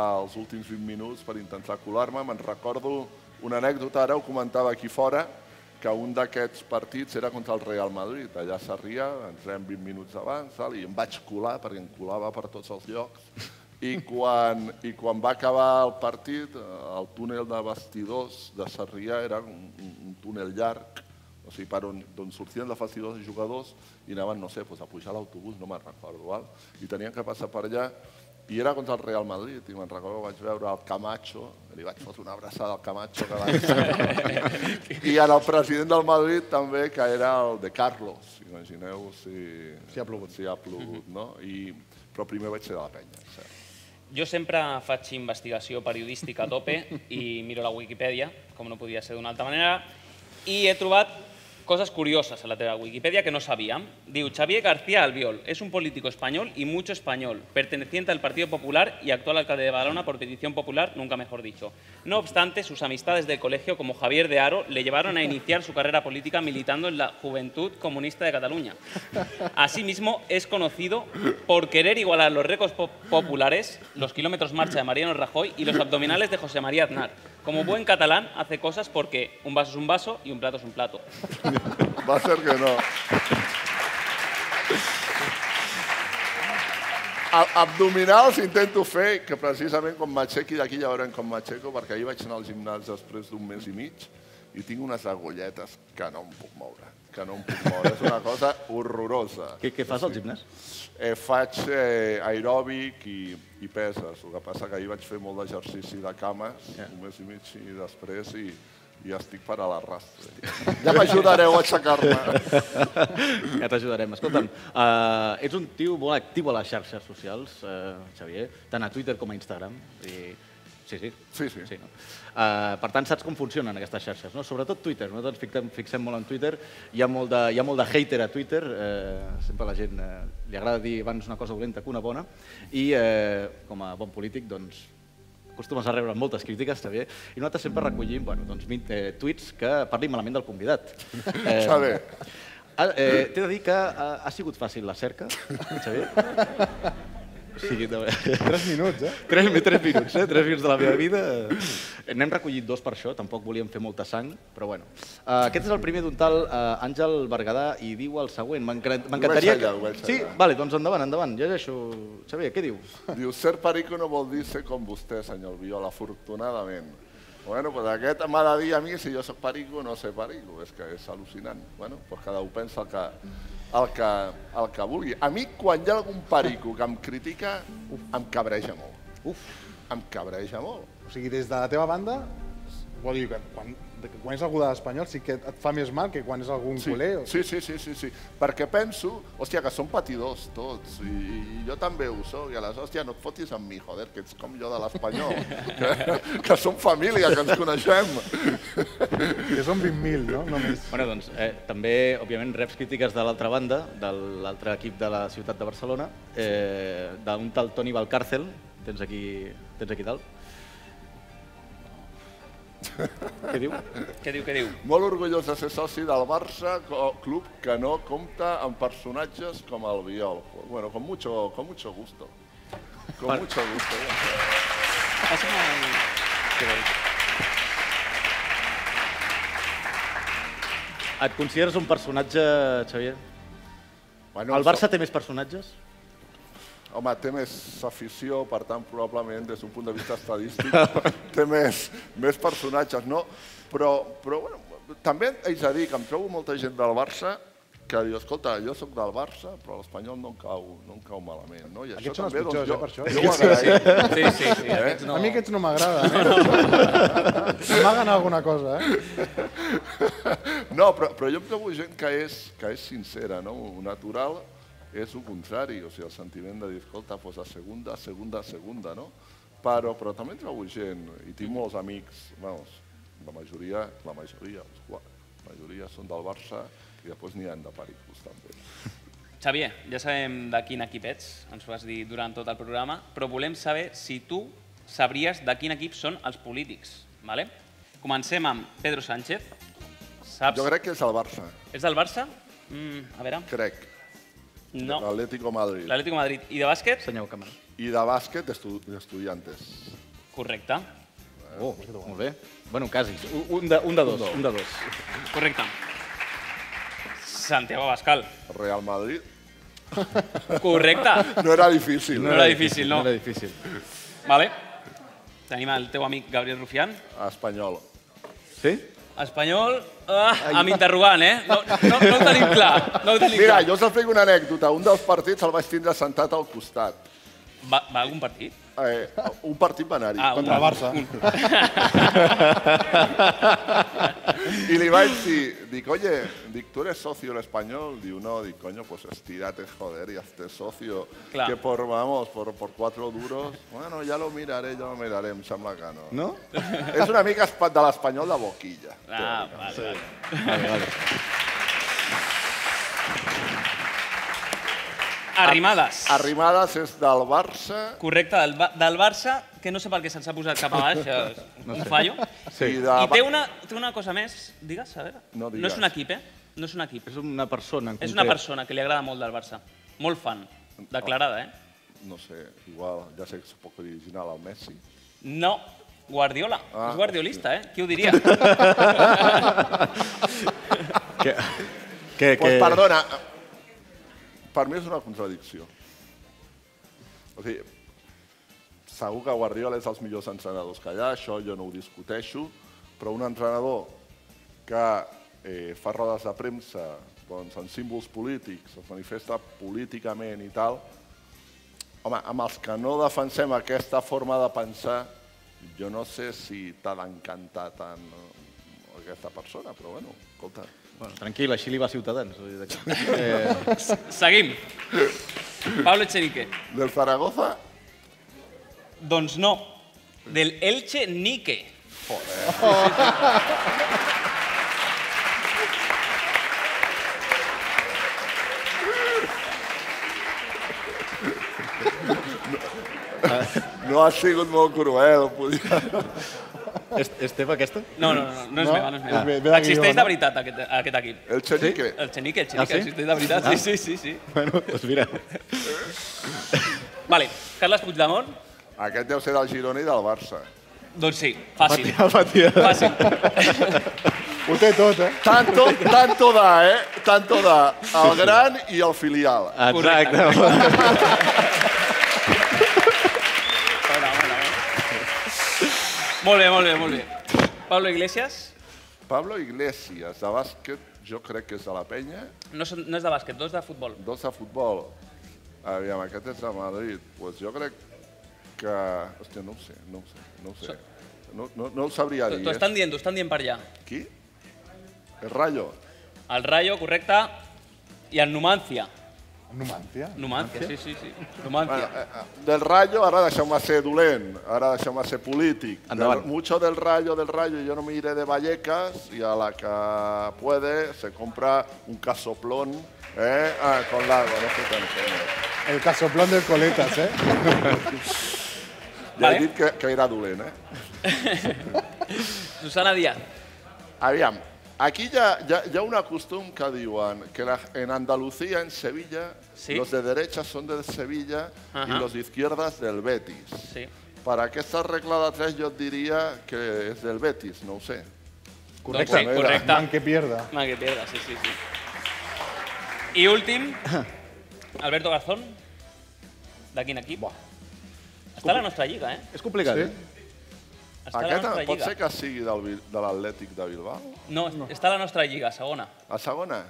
Speaker 12: als últims 20 minuts per intentar colar-me. Me'n recordo una anècdota, ara ho comentava aquí fora, que un d'aquests partits era contra el Real Madrid. Allà a Sarrià, entrem 20 minuts abans, tal, i em vaig colar, perquè em colava per tots els llocs. I quan, I quan va acabar el partit, eh, el túnel de vestidors de Sarrià era un, un, un túnel llarg, o sigui, per on, d'on sortien de vestidors de jugadors i anaven, no sé, doncs a pujar a l'autobús, no me'n recordo, val? i tenien que passar per allà i era contra el Real Madrid, i me'n recordo que vaig veure el Camacho, li vaig fotre una abraçada al Camacho. Que vaig... I en el president del Madrid també, que era el de Carlos, imagineu si... Si ha plogut. Si ha plogut, no? I... Però primer vaig ser de la penya, és cert.
Speaker 3: Jo sempre faig investigació periodística a tope i miro la Wikipedia, com no podia ser d'una altra manera, i he trobat coses curioses a la teva Wikipedia que no sabíem. Diu, Xavier García Albiol es un político español y mucho español, perteneciente al Partido Popular y actual alcalde de Badalona por petición popular, nunca mejor dicho. No obstante, sus amistades del colegio, como Javier de Aro, le llevaron a iniciar su carrera política militando en la Juventud Comunista de Cataluña. Asimismo, es conocido por querer igualar los récords po- populares, los kilómetros marcha de Mariano Rajoy y los abdominales de José María Aznar. Como buen catalán, hace cosas porque un vaso es un vaso y un plato es un plato.
Speaker 12: Va ser que no. A- Abdominals intento fer, que precisament quan m'aixequi d'aquí ja veurem com m'aixeco, perquè ahir vaig anar al gimnàs després d'un mes i mig i tinc unes agulletes que no em puc moure, que no em puc moure. És una cosa horrorosa.
Speaker 2: Què, què fas al gimnàs?
Speaker 12: Eh, faig eh, aeròbic i, i peses. El que passa que ahir vaig fer molt d'exercici de cames, un mes i mig i després, i, i estic per a l'arrastre. Ja m'ajudareu a aixecar-me.
Speaker 2: Ja t'ajudarem. Escolta'm, uh, ets un tio molt actiu a les xarxes socials, uh, Xavier, tant a Twitter com a Instagram. I... Sí, sí.
Speaker 12: Sí, sí.
Speaker 2: no? uh, per tant, saps com funcionen aquestes xarxes, no? Sobretot Twitter. Nosaltres ens fixem, fixem molt en Twitter. Hi ha molt de, hi ha molt de hater a Twitter. Uh, sempre a la gent uh, li agrada dir abans una cosa dolenta que una bona. I uh, com a bon polític, doncs, acostumes a rebre moltes crítiques, Xavier, i nosaltres sempre recollim bueno, doncs, min- eh, tuits que parlin malament del convidat.
Speaker 12: Està bé.
Speaker 2: Ah, eh, T'he de dir que ha, ha sigut fàcil la cerca, Xavier. O sigui, de...
Speaker 4: Tres minuts, eh?
Speaker 2: Tres, tres minuts, eh? Tres minuts de la meva vida. Eh, N'hem recollit dos per això, tampoc volíem fer molta sang, però bueno. Uh, aquest és el primer d'un tal uh, Àngel Berguedà i diu el següent. M'encre- M'encantaria...
Speaker 12: Ho vaig allà, ho vaig
Speaker 2: Sí,
Speaker 12: allà.
Speaker 2: vale, doncs endavant, endavant. Llegeixo. Xavier, què dius?
Speaker 12: Diu, ser perico no vol dir ser com vostè, senyor Viola, afortunadament. Bueno, pues aquest m'ha de dir a mi si jo sóc perico o no sé perico, és que és al·lucinant. Bueno, pues cada un pensa el que, el que, el que vulgui. A mi, quan hi ha algun perico que em critica, em cabreja molt.
Speaker 2: Uf.
Speaker 12: Em cabreja molt.
Speaker 4: O sigui, des de la teva banda, vol dir que quan, de- quan és algú de l'Espanyol sí que et fa més mal que quan és algun
Speaker 12: Sí,
Speaker 4: culer. O...
Speaker 12: sí, sí, sí, sí, sí. Perquè penso, hòstia, que són patidors tots, i, i jo també ho soc, i aleshores, hòstia, no et fotis amb mi, joder, que ets com jo de l'Espanyol, que, que som família, que ens coneixem.
Speaker 4: Que són 20.000, no? Només.
Speaker 2: Bueno, doncs, eh, també, òbviament, reps crítiques de l'altra banda, de l'altre equip de la ciutat de Barcelona, eh, d'un tal Toni Valcárcel, tens aquí, tens aquí dalt. Què diu?
Speaker 3: Què diu, què diu?
Speaker 12: Molt orgullós de ser soci del Barça, co- club que no compta amb personatges com el Biol. Bueno, con mucho, con mucho gusto. Con
Speaker 2: Per-
Speaker 12: mucho gusto.
Speaker 3: Passa'm el...
Speaker 2: Et consideres un personatge, Xavier?
Speaker 12: Bueno,
Speaker 2: el Barça té més personatges?
Speaker 12: Home, té més afició, per tant, probablement, des d'un punt de vista estadístic, té més, més personatges, no? Però, però bueno, també haig de dir que em trobo molta gent del Barça que diu, escolta, jo sóc del Barça, però l'Espanyol no em cau, no em cau malament, no? I doncs,
Speaker 4: Aquests són els pitjors, eh, per això.
Speaker 12: jo ho agraeixo.
Speaker 4: Sí, sí, sí, aquests no. A mi aquests no m'agraden, eh? M'amagan alguna cosa, eh?
Speaker 12: No, però, però jo em trobo gent que és, que és sincera, no? Natural és el contrari, o sigui, el sentiment de dir, escolta, pues a segunda, segunda, segunda, no? Però, però també em trobo gent, i tinc molts amics, vamos, la majoria, la majoria, els qua- la majoria són del Barça i després n'hi ha de Pericos, també.
Speaker 3: Xavier, ja sabem de quin equip ets, ens ho has dit durant tot el programa, però volem saber si tu sabries de quin equip són els polítics. Vale? Comencem amb Pedro Sánchez. Saps?
Speaker 12: Jo crec que és el Barça,
Speaker 3: És del Barça? Mm, a veure,
Speaker 12: crec.
Speaker 3: No.
Speaker 12: L'Atlético Madrid.
Speaker 3: l'Atlético de Madrid. I de bàsquet? Senyor Camarón.
Speaker 12: I de bàsquet, estu estudiantes.
Speaker 3: Correcte.
Speaker 2: Oh, molt bé. Bueno, quasi. Un- Un de, un de dos, un de dos.
Speaker 3: Correcte. Santiago Abascal.
Speaker 12: Real Madrid.
Speaker 3: Correcte.
Speaker 12: No era difícil. eh,
Speaker 3: No era difícil, no.
Speaker 2: No era difícil.
Speaker 3: Vale. Tenim el teu amic Gabriel Rufián.
Speaker 12: Espanyol.
Speaker 2: Sí?
Speaker 3: Espanyol, ah, amb interrogant, eh? No, no, no ho tenim clar. No ho tenim
Speaker 12: Mira,
Speaker 3: clar.
Speaker 12: jo us explico una anècdota. Un dels partits el vaig tindre sentat al costat.
Speaker 3: Va, va a algun partit?
Speaker 12: Eh, un partit va anar-hi.
Speaker 3: Ah, un-
Speaker 12: Contra el Barça. I li vaig dir, dic, oye, dic, tu eres socio del Espanyol? Diu, no, dic, coño, pues estírate, joder, y hazte socio.
Speaker 3: Clar.
Speaker 12: Que por, vamos, por, por cuatro duros... Bueno, ja lo miraré, ja lo miraré, em sembla que no.
Speaker 2: No?
Speaker 12: És una mica espa- de l'Espanyol de boquilla.
Speaker 3: Ah, vale, vale.
Speaker 2: Vale, vale.
Speaker 3: Arrimades.
Speaker 12: Arrimadas és del Barça
Speaker 3: Correcte, del, Ba- del Barça, que no sé per què se'ns ha posat cap a baix, eh,
Speaker 12: No
Speaker 3: un
Speaker 12: sé.
Speaker 3: fallo.
Speaker 12: Sí. I
Speaker 3: I,
Speaker 12: de-
Speaker 3: té, una, té una cosa més, digues, a veure.
Speaker 12: Ah, No
Speaker 3: no
Speaker 12: digues.
Speaker 3: és un equip, eh? No és un equip.
Speaker 2: És una persona en
Speaker 3: És una
Speaker 2: concret.
Speaker 3: persona que li agrada molt del Barça. Molt fan, declarada, eh?
Speaker 12: no sé, igual, ja sé que és poc original el Messi.
Speaker 3: No, Guardiola.
Speaker 12: Ah,
Speaker 3: és guardiolista, eh? Qui ho diria?
Speaker 2: Que, que,
Speaker 12: pues
Speaker 2: que...
Speaker 12: perdona, per mi és una contradicció. O sigui, segur que Guardiola és dels millors entrenadors que hi ha, això jo no ho discuteixo, però un entrenador que eh, fa rodes de premsa doncs, en símbols polítics, es manifesta políticament i tal, home, amb els que no defensem aquesta forma de pensar, jo no sé si t'ha d'encantar tant eh, aquesta persona, però bueno, escolta.
Speaker 2: Bueno, Tranquil, així li va a Ciutadans. vull dir que- Eh,
Speaker 3: Seguim. Pablo Echenique.
Speaker 12: Del Zaragoza?
Speaker 3: Doncs no. Del Elche Nique.
Speaker 12: No ha sigut molt cruel, podia...
Speaker 2: Est Esteve, aquesta?
Speaker 3: No, no, no, no és
Speaker 12: No?
Speaker 3: meva, no és meva.
Speaker 12: Ve- ve de
Speaker 3: existeix
Speaker 12: guió,
Speaker 3: de
Speaker 12: no?
Speaker 3: veritat aquest, aquest equip.
Speaker 12: El Chenique.
Speaker 3: El Chenique, el
Speaker 2: Ah,
Speaker 3: Chenique,
Speaker 2: sí?
Speaker 3: existeix de veritat,
Speaker 2: Ah.
Speaker 3: sí, sí, sí. sí.
Speaker 2: Bueno, doncs mira.
Speaker 3: Vale, Carles Puigdemont,
Speaker 12: Aquest deu ser del Girona i del Barça.
Speaker 3: doncs sí, fàcil.
Speaker 2: Patia,
Speaker 3: Fàcil.
Speaker 4: Ho té tot, eh?
Speaker 12: Tanto, tanto da, eh? Tanto da. El gran i el filial.
Speaker 2: Exacte.
Speaker 3: Molt bé, molt bé, molt bé. Pablo Iglesias,
Speaker 12: Pablo Iglesias, de bàsquet, jo crec que és de la penya,
Speaker 3: no, són, no és de bàsquet, dos de futbol.
Speaker 12: dos de futbol. Aviam, aquest és de Madrid. Pues jo crec que... Hòstia, no ho sé, no ho sé, no ho sé. No, no, no ho sabria dir.
Speaker 3: T'ho estan dient, t'ho estan dient per allà.
Speaker 12: eh? Qui? El Rayo.
Speaker 3: El Rayo, correcte, i el Numancia.
Speaker 4: Numancia?
Speaker 3: Numancia, sí, sí, sí. Numancia.
Speaker 12: Ah, eh, Del Rayo, ara deixeu-me ser dolent, ara deixeu-me ser polític.
Speaker 2: Endavant.
Speaker 12: Del, mucho del Rayo, del Rayo, yo no me iré de Vallecas y a la que puede se compra un casoplón eh, ah, con lago, no sé què. No sé, no.
Speaker 4: El casoplón del Coletas, eh?
Speaker 12: Ja
Speaker 3: Vale.
Speaker 12: he dit que, que era dolent, eh?
Speaker 3: Susana Díaz.
Speaker 12: Aviam, aquí hi ha, hi ha, hi ha un acostum que diuen que la, en Andalucía, en Sevilla,
Speaker 3: Sí.
Speaker 12: los de derecha son de Sevilla
Speaker 3: Ajá.
Speaker 12: y los de izquierdas del Betis.
Speaker 3: Sí.
Speaker 12: Per aquesta regla de tres jo et diria que és del Betis, no ho sé.
Speaker 3: Correcte. Doncs sí, correcte.
Speaker 4: Man que pierda.
Speaker 3: Ah, que pedra, sí, sí, sí. I últim, Alberto Garzón. de quin equip. Està a la nostra lliga, eh?
Speaker 2: És complicat,
Speaker 12: Sí.
Speaker 2: eh?
Speaker 3: Està a la
Speaker 12: Aquest
Speaker 3: nostra
Speaker 12: pot
Speaker 3: lliga.
Speaker 12: ser que sigui del, Bil- de l'Atlètic de Bilbao?
Speaker 3: No, està a la nostra lliga, segona.
Speaker 12: La segona?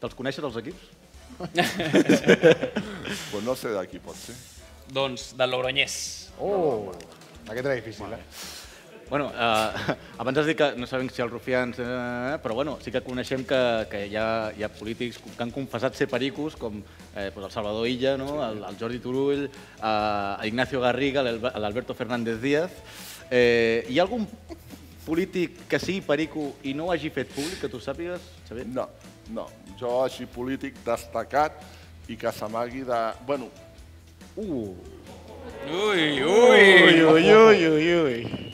Speaker 2: Te'ls coneixes, els equips?
Speaker 12: pues no sé de qui pot ser.
Speaker 3: Doncs del Logroñés.
Speaker 4: Oh, aquest era difícil, eh?
Speaker 2: Bueno, eh, abans has dit que no sabem si els rufians... Eh, però bueno, sí que coneixem que, que hi, ha, hi ha polítics que han confessat ser pericos, com eh, pues el Salvador Illa, no? el, el Jordi Turull, eh, Ignacio Garriga, l'Albe- l'Alberto Fernández Díaz. Eh, hi ha algun polític que sigui perico i no ho hagi fet públic, que tu sàpigues, Xavier?
Speaker 12: No, no. Jo, així polític destacat i que s'amagui de... Bueno,
Speaker 2: Uh.
Speaker 3: Ui,
Speaker 12: ui.
Speaker 2: ui, ui, ui, ui.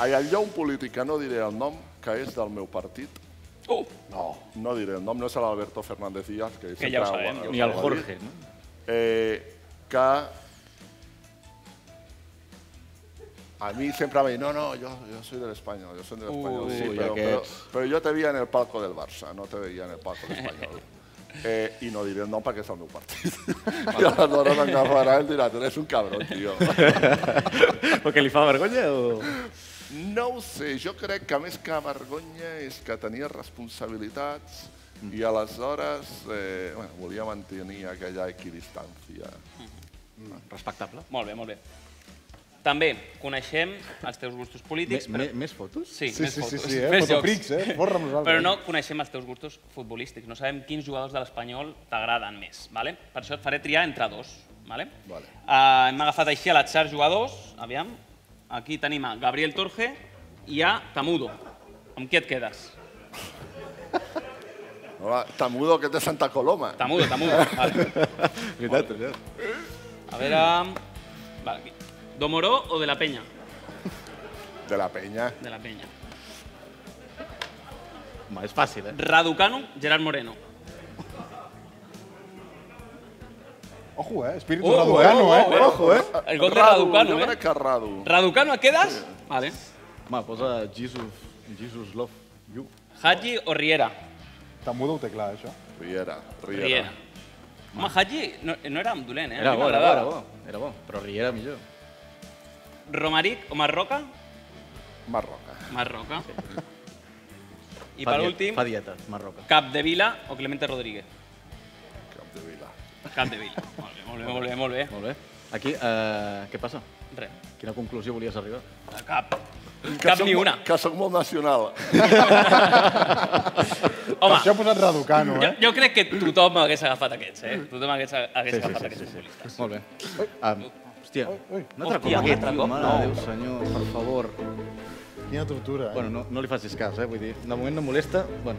Speaker 12: Hi ha un polític que no diré el nom, que és del meu partit.
Speaker 3: Uh.
Speaker 12: No, no diré el nom, no és l'Alberto Fernández Díaz, que,
Speaker 3: Que ja ho
Speaker 12: sempre
Speaker 3: sabem, ja ho
Speaker 12: ha
Speaker 3: Ni el
Speaker 12: dit,
Speaker 3: Jorge, no?
Speaker 12: Eh, que a mi sempre va dir, no, no, yo, yo soy del Español, yo soy del
Speaker 2: Uy,
Speaker 12: Español, sí,
Speaker 2: uy,
Speaker 12: pero, pero,
Speaker 2: aquests.
Speaker 12: pero yo te veía en el palco del Barça, no te veía en el palco del Español. Eh, I no diré el nom perquè és el meu partit. I aleshores m'agafarà i dirà, eres un cabrón, tio.
Speaker 2: Perquè li fa vergonya o...?
Speaker 12: No ho sé, jo crec que més que vergonya és que tenia responsabilitats i aleshores eh, bueno, volia mantenir aquella equidistància.
Speaker 2: Respectable.
Speaker 3: Molt bé, molt bé. També coneixem els teus gustos polítics.
Speaker 2: Me- me- més fotos?
Speaker 3: Sí,
Speaker 2: Sí,
Speaker 3: més
Speaker 2: sí, sí,
Speaker 3: fotos.
Speaker 2: sí, eh?
Speaker 3: Més
Speaker 2: Fotoprics,
Speaker 3: jocs.
Speaker 2: eh? Borra amb nosaltres.
Speaker 3: Però no coneixem els teus gustos futbolístics. No sabem quins jugadors de l'Espanyol t'agraden més. Vale? Per això et faré triar entre dos. Vale? Vale. Uh, hem agafat així a l'atzar jugadors. Aviam. Aquí tenim a Gabriel Torge i a Tamudo. Amb qui et quedes?
Speaker 12: Hola, Tamudo, que és de Santa Coloma.
Speaker 3: Tamudo, Tamudo. Vale.
Speaker 2: Veritat, veritat.
Speaker 3: A veure... Vale, aquí. Domoró o de la Penya?
Speaker 12: De la Penya.
Speaker 3: De la Penya.
Speaker 2: Home, és fàcil, eh?
Speaker 3: Raducano, Gerard Moreno.
Speaker 4: Ojo, eh? Espíritu
Speaker 3: Oh,
Speaker 4: raducano,
Speaker 3: oh,
Speaker 4: eh?
Speaker 3: oh, oh.
Speaker 4: Ojo, eh?
Speaker 3: El gol de Raducano,
Speaker 12: jo
Speaker 3: eh?
Speaker 12: crec que Radu.
Speaker 3: Raducano, et quedes? Vale.
Speaker 2: Home, posa Jesus, Jesus Love You.
Speaker 3: Haji o Riera?
Speaker 4: Tamudo ho té clar, això.
Speaker 12: Riera,
Speaker 3: Riera. Home, Haji no, no era dolent, eh?
Speaker 2: Era
Speaker 3: A mi
Speaker 2: bo, era bo, era
Speaker 3: m'agradava.
Speaker 2: bo, era bo, però Riera millor.
Speaker 3: Romaric o Marroca?
Speaker 12: Marroca.
Speaker 3: Marroca. I
Speaker 2: Fa
Speaker 3: per
Speaker 2: dieta-
Speaker 3: últim,
Speaker 2: Fa dieta, Marroca.
Speaker 3: Capdevila o Clemente Rodríguez?
Speaker 12: Capdevila.
Speaker 3: Capdevila. Molt bé, molt bé, molt bé. Molt bé.
Speaker 2: Molt bé. Aquí, eh, què passa?
Speaker 3: Res.
Speaker 2: Quina conclusió volies arribar?
Speaker 3: De cap.
Speaker 12: Que
Speaker 3: cap
Speaker 12: sóc
Speaker 3: ni
Speaker 12: molt-
Speaker 3: una.
Speaker 12: Que sóc molt nacional.
Speaker 4: Per això he posat raducano,
Speaker 3: jo,
Speaker 4: eh?
Speaker 3: jo crec que tothom hagués agafat aquests, eh? Tothom hagués,
Speaker 2: Sí,
Speaker 3: hagués
Speaker 2: sí,
Speaker 3: agafat
Speaker 2: sí, sí,
Speaker 3: aquests
Speaker 2: sí.
Speaker 3: futbolistes.
Speaker 2: Molt bé. Um, hòstia, un altre cop
Speaker 3: Hòstia,
Speaker 2: aquest,
Speaker 3: un altre
Speaker 2: tio,
Speaker 3: cop?
Speaker 2: mare
Speaker 3: No.
Speaker 2: de Déu, senyor, per favor.
Speaker 4: Quina tortura, eh?
Speaker 2: Bueno, no, no li facis cas, eh? Vull dir, de moment no molesta, bueno,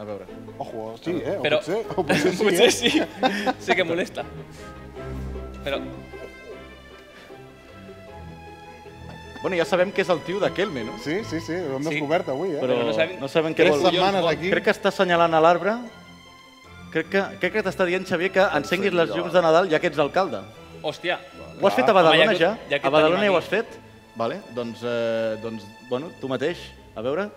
Speaker 2: a veure.
Speaker 4: Ojo, sí, eh? O
Speaker 3: Però-
Speaker 4: potser, o potser sí,
Speaker 3: potser
Speaker 4: eh?
Speaker 3: sí. Sí que molesta. Però
Speaker 2: Bueno, ja sabem que és el tio de Kelme, no?
Speaker 4: Sí, sí, sí, ho hem descobert avui, eh?
Speaker 2: Però no sabem, no sabem què
Speaker 4: Tres
Speaker 2: vol.
Speaker 4: setmanes aquí.
Speaker 2: Crec que està assenyalant a l'arbre. Crec que, crec que t'està dient, Xavier, que encenguis les llums de Nadal ja que ets alcalde.
Speaker 3: Hòstia.
Speaker 2: Ho has fet a
Speaker 3: Ah, Home,
Speaker 2: Badalona
Speaker 3: que-
Speaker 2: ja?
Speaker 3: que
Speaker 2: A Badalona ja
Speaker 3: tenim
Speaker 2: ho
Speaker 3: aquí.
Speaker 2: has fet? Vale, doncs, eh, doncs bueno, tu mateix. A veure,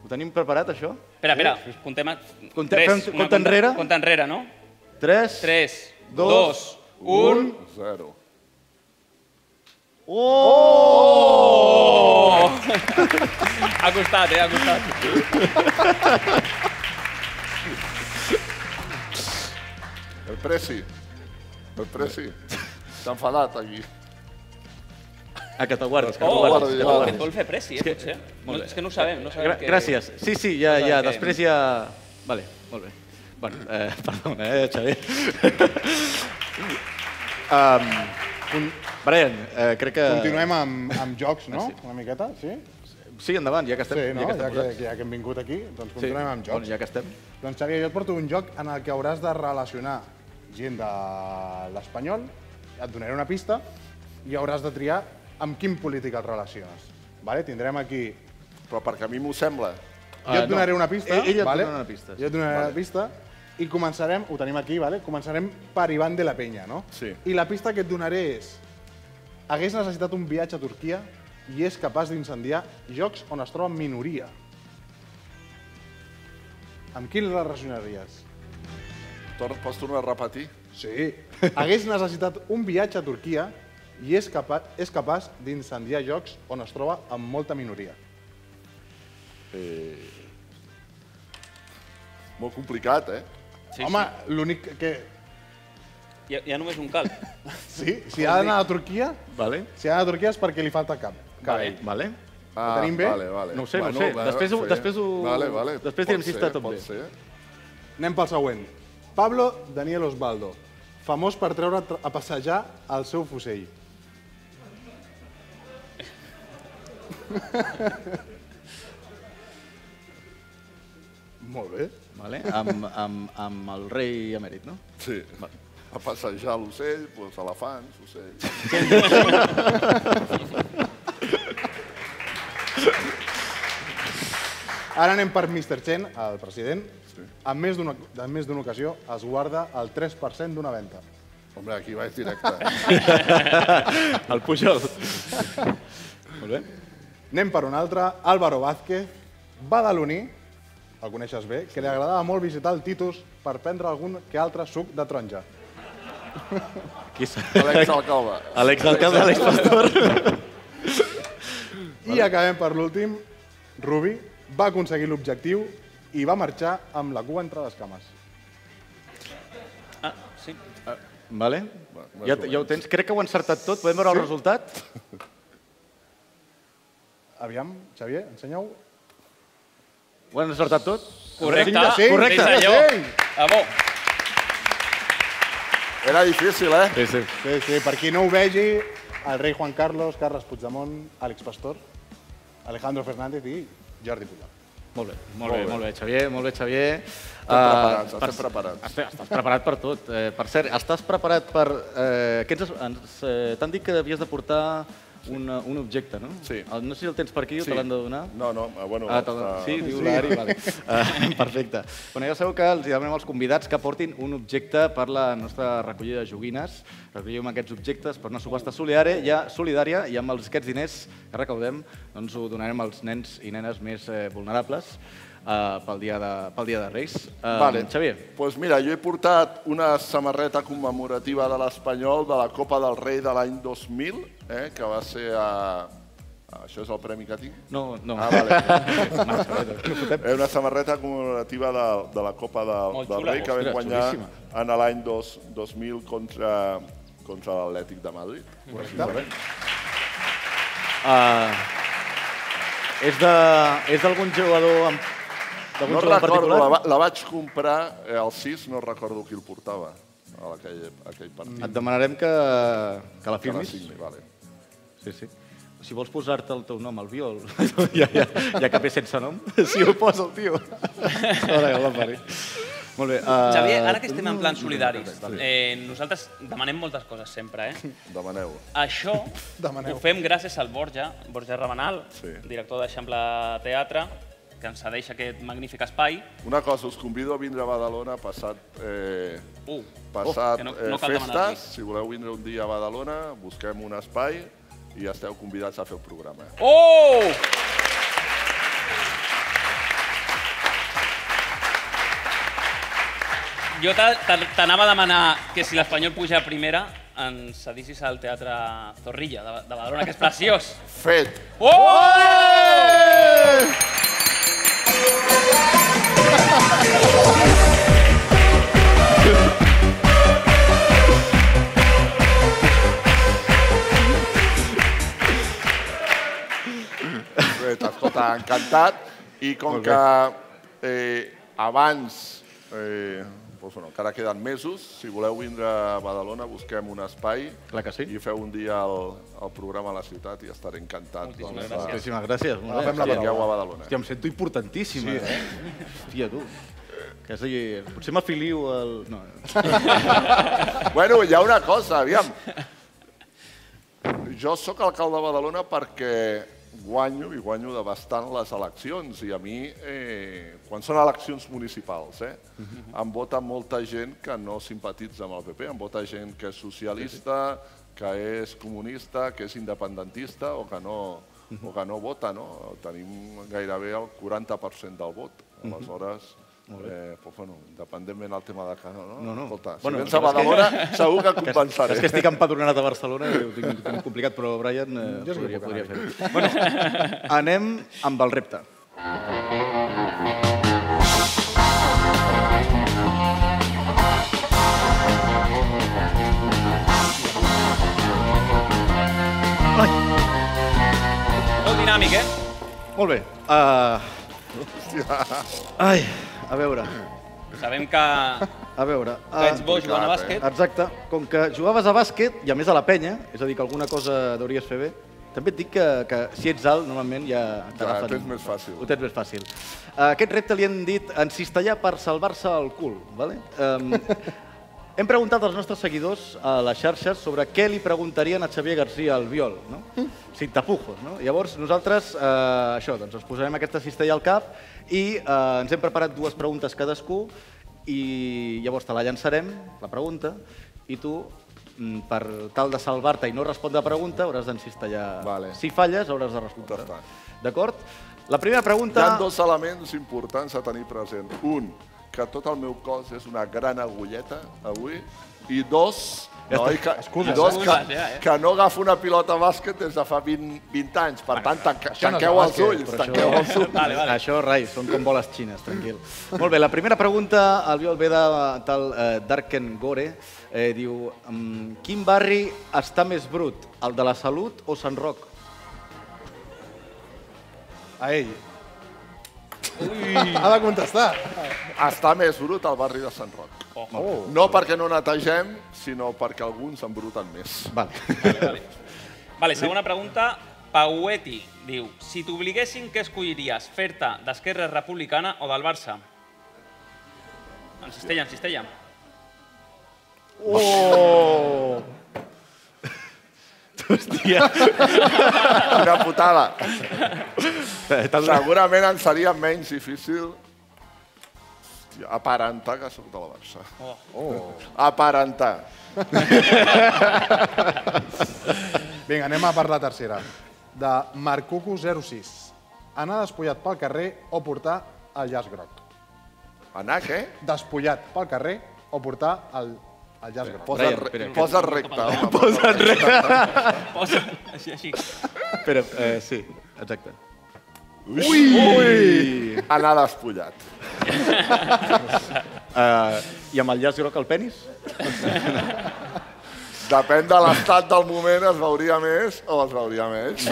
Speaker 2: ho tenim preparat, això?
Speaker 3: Espera, espera, comptem... A...
Speaker 2: Compte-
Speaker 3: tres,
Speaker 2: fem-
Speaker 3: una
Speaker 2: compte enrere?
Speaker 3: Compte enrere, no?
Speaker 2: 3,
Speaker 3: 3,
Speaker 2: Dos,
Speaker 3: 2, 1...
Speaker 12: Zero.
Speaker 3: Oh! ha costat, eh? Ha costat.
Speaker 12: El Presi. El Presi. S'ha enfadat aquí.
Speaker 2: Ah, que te'l guardis, que
Speaker 12: Oh,
Speaker 2: te'l guardis.
Speaker 12: guardi,
Speaker 2: que te'l
Speaker 12: guardi.
Speaker 2: guardis.
Speaker 3: Vol fer pressi, eh,
Speaker 2: És que-
Speaker 3: potser?
Speaker 2: molt
Speaker 3: No,
Speaker 2: bé.
Speaker 3: és que no ho sabem, no sabem
Speaker 2: Gra-
Speaker 3: que-
Speaker 2: Gràcies. Sí, sí, ja,
Speaker 4: Doncs
Speaker 3: No
Speaker 2: ja,
Speaker 3: sabem què-
Speaker 2: després ja... Vale, molt bé. Bueno, eh, perdona, eh, Xavier. um, un... Brian, eh, crec que...
Speaker 4: Continuem amb, amb jocs, no? Una miqueta, sí?
Speaker 2: Sí, endavant, ja que Ah, estem.
Speaker 4: Sí, no?
Speaker 2: Ja que
Speaker 4: Ja
Speaker 2: estem
Speaker 4: que,
Speaker 2: posats.
Speaker 4: ja que hem vingut aquí, doncs continuem amb
Speaker 2: Bueno,
Speaker 4: jocs.
Speaker 2: ja que estem.
Speaker 4: Doncs Xavier, jo et porto un joc en el que hauràs de relacionar gent de l'Espanyol, et donaré una pista i hauràs de triar amb quin polític el relaciones. Vale? Tindrem aquí...
Speaker 12: Però perquè a mi m'ho sembla.
Speaker 4: Jo
Speaker 2: Ah,
Speaker 4: et donaré
Speaker 2: no.
Speaker 4: una pista.
Speaker 2: Ell- ell et
Speaker 4: vale?
Speaker 2: donarà una pista, sí.
Speaker 4: Jo et donaré
Speaker 2: Vale.
Speaker 4: una pista i començarem, ho tenim aquí, vale? començarem per Ivan de la Penya, no?
Speaker 12: Sí.
Speaker 4: I la pista que et donaré és... Hagués necessitat un viatge a Turquia i és capaç d'incendiar jocs on es troba minoria. Amb qui la relacionaries?
Speaker 12: Tor- Pots tornar a repetir?
Speaker 4: Sí. Hagués necessitat un viatge a Turquia i és, capa és capaç d'incendiar llocs on es troba amb molta minoria.
Speaker 12: Eh... Molt complicat, eh?
Speaker 4: Sí, Home, l'únic que...
Speaker 3: Hi ha, hi ha només un cal.
Speaker 4: Sí? Si ha d'anar a Turquia,
Speaker 2: Vale.
Speaker 4: si ha d'anar a Turquia és perquè li falta cap. Cabell.
Speaker 2: Vale.
Speaker 4: Ah, tenim bé?
Speaker 12: Vale, vale.
Speaker 2: No ho sé, no ho sé. Després ho- després ho-
Speaker 12: Vale, vale.
Speaker 2: després
Speaker 12: Pot
Speaker 2: direm si
Speaker 12: ser,
Speaker 2: està tot
Speaker 12: pot
Speaker 2: bé.
Speaker 12: Ser.
Speaker 4: Anem pel següent. Pablo Daniel Osvaldo, famós per treure tra- a passejar el seu fusell. Molt bé.
Speaker 2: Vale. Amb, amb, amb el rei emèrit, no?
Speaker 12: Sí. A passejar l'ocell, doncs elefants, ocells.
Speaker 4: Ara anem per Mr. Chen, el president. Sí. En més d'una en més d'una ocasió es guarda el 3% d'una venda.
Speaker 12: Hombre, aquí vaig directe.
Speaker 2: El Pujol.
Speaker 4: Molt bé. Anem per un altre, Álvaro Vázquez, badaloní, el coneixes bé, que li agradava molt visitar el Titus per prendre algun que altre suc de taronja.
Speaker 2: Qui és?
Speaker 12: Àlex Alcalde.
Speaker 2: Àlex Alcalde, Àlex Pastor.
Speaker 4: I acabem per l'últim, Rubi va aconseguir l'objectiu i va marxar amb la cua entre les cames.
Speaker 3: Ah, sí.
Speaker 2: Vale. Ja, ja ho tens. Crec que ho han encertat tot. Podem veure el resultat?
Speaker 4: Aviam, Xavier, ensenya-ho.
Speaker 2: Ho han encertat tot?
Speaker 4: Correcte.
Speaker 2: Cinc de cinc.
Speaker 4: Correcte.
Speaker 2: Cinc de
Speaker 4: Senyor.
Speaker 2: cinc.
Speaker 3: Bravo.
Speaker 12: Era difícil, eh?
Speaker 2: Sí, sí.
Speaker 4: Sí, sí, per qui no ho vegi, el rei Juan Carlos, Carles Puigdemont, Àlex Pastor, Alejandro Fernández i Jordi Pujol.
Speaker 2: Molt bé, molt, bé, molt bé, Xavier, molt bé, Xavier. Eh,
Speaker 12: preparats, estem
Speaker 2: per-
Speaker 12: preparats.
Speaker 2: Estàs estàs preparat per tot. Eh, per cert, estàs preparat per... Eh, que ens, has- ens, eh, T'han dit que havies de portar un, un objecte, no? Sí. El, no sé si el tens per aquí o
Speaker 12: Sí.
Speaker 2: te l'han de donar.
Speaker 12: No, no, ah, bueno...
Speaker 2: Ah, te'l-
Speaker 12: ah,
Speaker 2: sí, diu l'Ari, vale. Eh, perfecte. Bueno, ja sabeu que els demanem als convidats que portin un objecte per la nostra recollida de joguines. Recollim aquests objectes per una subhasta solidària, ja solidària i amb els, aquests diners que recaudem doncs ho donarem als nens i nenes més eh, vulnerables eh, pel, dia de, pel dia de Reis. Eh,
Speaker 12: Vale.
Speaker 2: Xavier,
Speaker 12: Doncs mira, jo he portat una samarreta commemorativa de l'Espanyol de la Copa del Rei de l'any 2000, eh, que va ser a... a- Això és el premi que tinc?
Speaker 2: No, no.
Speaker 12: Ah, vale.
Speaker 2: samarreta.
Speaker 12: Eh, una samarreta commemorativa de, de la Copa de,
Speaker 2: Molt
Speaker 12: del
Speaker 2: xula.
Speaker 12: Rei que vam
Speaker 2: Ostres,
Speaker 12: guanyar
Speaker 2: xulíssima.
Speaker 12: en l'any dos- 2000 contra, contra l'Atlètic de Madrid.
Speaker 2: Correcte. eh, és de- és d'algun jugador en, d'algun
Speaker 12: No
Speaker 2: jugador en
Speaker 12: recordo,
Speaker 2: particular?
Speaker 12: la, va- la vaig comprar eh, al 6, no recordo qui el portava a aquell, a aquell partit.
Speaker 2: Et demanarem que, que la
Speaker 12: Que la
Speaker 2: firmis.
Speaker 12: signi, vale.
Speaker 2: Sí, sí. Si vols posar-te el teu nom al viol, ja, ja, ja que ve sense nom, si ho posa el tio. Ara que la pari. Molt bé.
Speaker 4: Ah.
Speaker 2: eh,
Speaker 3: Xavier, ara que estem en plan
Speaker 2: no,
Speaker 3: solidaris,
Speaker 2: vale.
Speaker 3: eh, nosaltres demanem moltes coses sempre, eh?
Speaker 12: Demaneu.
Speaker 3: Això
Speaker 4: Demaneu.
Speaker 3: ho fem gràcies al Borja, Borja Rabanal,
Speaker 12: Sí.
Speaker 3: director d'Eixample Teatre, que ens cedeix aquest magnífic espai.
Speaker 12: Una cosa, us convido a vindre a Badalona passat, eh,
Speaker 3: Uh, oh,
Speaker 12: passat
Speaker 3: que no-
Speaker 12: eh,
Speaker 3: no cal demanar-li.
Speaker 12: festes. Si voleu vindre un dia a Badalona, busquem un espai i esteu convidats a fer el programa.
Speaker 3: Oh! Jo t'a- t'a- t'anava a demanar que si l'Espanyol puja a primera ens cedissis al Teatre Zorrilla de, de Badalona, que és preciós.
Speaker 12: Fet!
Speaker 3: Oh!
Speaker 12: Fet, escolta, encantat. I com que eh, abans, eh, doncs, bueno, encara queden mesos, si voleu vindre a Badalona, busquem un espai
Speaker 2: Clar que sí.
Speaker 12: i feu un dia el, el programa a la ciutat i estaré encantat. doncs,
Speaker 2: Moltíssimes
Speaker 12: de-
Speaker 2: gràcies. Moltíssimes gràcies. Molt bé.
Speaker 12: Agafem la
Speaker 2: Hòstia,
Speaker 12: paraula a Badalona.
Speaker 2: Hòstia, em sento importantíssim, sí. eh? Hòstia, tu. Que és a dir, potser m'afilio al... No.
Speaker 12: bueno, hi ha una cosa, aviam. Jo sóc alcalde de Badalona perquè guanyo i guanyo de bastant les eleccions i a mi, eh, quan són eleccions municipals, eh, em vota molta gent que no simpatitza amb el PP, em vota gent que és socialista, que és comunista, que és independentista o que no, o que no vota, no? Tenim gairebé el 40% del vot. Aleshores, Eh, pues bueno, independentment del tema de Cano, no?
Speaker 2: No, no.
Speaker 12: Escolta, si
Speaker 2: Bueno,
Speaker 12: vens
Speaker 2: és
Speaker 12: a
Speaker 2: que-
Speaker 12: Badalona, segur que compensaré.
Speaker 2: És que estic empadronat a Barcelona i ho tinc com complicat, però Brian eh,
Speaker 12: Jo sí que
Speaker 2: podria,
Speaker 12: puc
Speaker 2: podria
Speaker 12: anar-hi.
Speaker 2: fer-ho. Bueno, anem amb el repte.
Speaker 3: Molt dinàmic, eh?
Speaker 2: Molt bé. Uh... Ai, a veure,
Speaker 3: Sabem que...
Speaker 2: a veure. eh,
Speaker 3: Tu ets bo jugant a
Speaker 12: eh?
Speaker 3: bàsquet.
Speaker 2: Exacte. Com que jugaves a bàsquet, i a més a la penya, és a dir, que alguna cosa deuries fer bé, també et dic que, que si ets alt, normalment ja t'agafen.
Speaker 12: tens més fàcil.
Speaker 2: Ho tens més fàcil. Uh, aquest repte li hem dit encistellar per salvar-se el cul, ¿vale? Um, hem preguntat als nostres seguidors a les xarxes sobre què li preguntarien a Xavier García al viol, no?
Speaker 12: Mm.
Speaker 2: Sin tapujos, no? Llavors, nosaltres, eh, això, doncs ens posarem aquesta cistella al cap i eh, ens hem preparat dues preguntes cadascú i llavors te la llançarem, la pregunta, i tu, mm, per tal de salvar-te i no respondre a la pregunta, hauràs d'encistellar. Vale. Si falles, hauràs de respondre. D'acord? La primera
Speaker 12: Hi ha
Speaker 2: pregunta...
Speaker 12: dos elements importants a tenir present. Un, que tot el meu cos és una gran agulleta, avui, i dos,
Speaker 2: Ja
Speaker 12: no,
Speaker 2: està.
Speaker 12: i que,
Speaker 2: Excuses,
Speaker 12: i dos
Speaker 2: eh?
Speaker 12: que,
Speaker 2: Excuses, ja, eh?
Speaker 12: que no agafo una pilota de bàsquet des de fa 20, 20 anys. Per tant, tanque,
Speaker 2: Això no és
Speaker 12: tanqueu
Speaker 2: de
Speaker 12: els
Speaker 2: bàsquet,
Speaker 12: ulls,
Speaker 2: però
Speaker 12: tanqueu els ulls.
Speaker 2: Vale, vale. Això, rai, són com boles xines, tranquil. Molt bé, la primera pregunta, Albiol, ve de tal eh, Darken Gore. Eh, diu, mm, quin barri està més brut, el de la Salut o Sant Roc?
Speaker 4: A ell.
Speaker 12: Ha de contestar. Està més brut al barri de Sant Roc.
Speaker 2: Oh.
Speaker 12: No perquè no netegem, sinó perquè alguns embruten més.
Speaker 2: Vale.
Speaker 3: Vale, segona pregunta. Paueti diu, si t'obliguessin, què escolliries? Fer-te d'Esquerra Republicana o del Barça? En cistella, en cistella.
Speaker 12: Oh!
Speaker 2: Hòstia.
Speaker 12: Una putada.
Speaker 2: Tal-
Speaker 12: Segurament em seria menys difícil hòstia, aparentar que sóc de la Barça.
Speaker 3: Oh.
Speaker 4: Oh.
Speaker 12: Aparentar.
Speaker 4: Vinga, anem a per la tercera. De Marcuco06. Anar despullat pel carrer o portar el llaç groc.
Speaker 12: Anar què?
Speaker 4: Despullat pel carrer o portar el, el llaç groc.
Speaker 12: Posa't, re, posa't recte. home,
Speaker 2: Posa't recte.
Speaker 3: Posa, així, així.
Speaker 2: Espera, eh, sí, exacte.
Speaker 12: Ui!
Speaker 2: Ui!
Speaker 12: Anar despullat.
Speaker 2: Eh, I amb el llaç groc al penis?
Speaker 12: Depèn de l'estat del moment, es veuria més o es veuria més.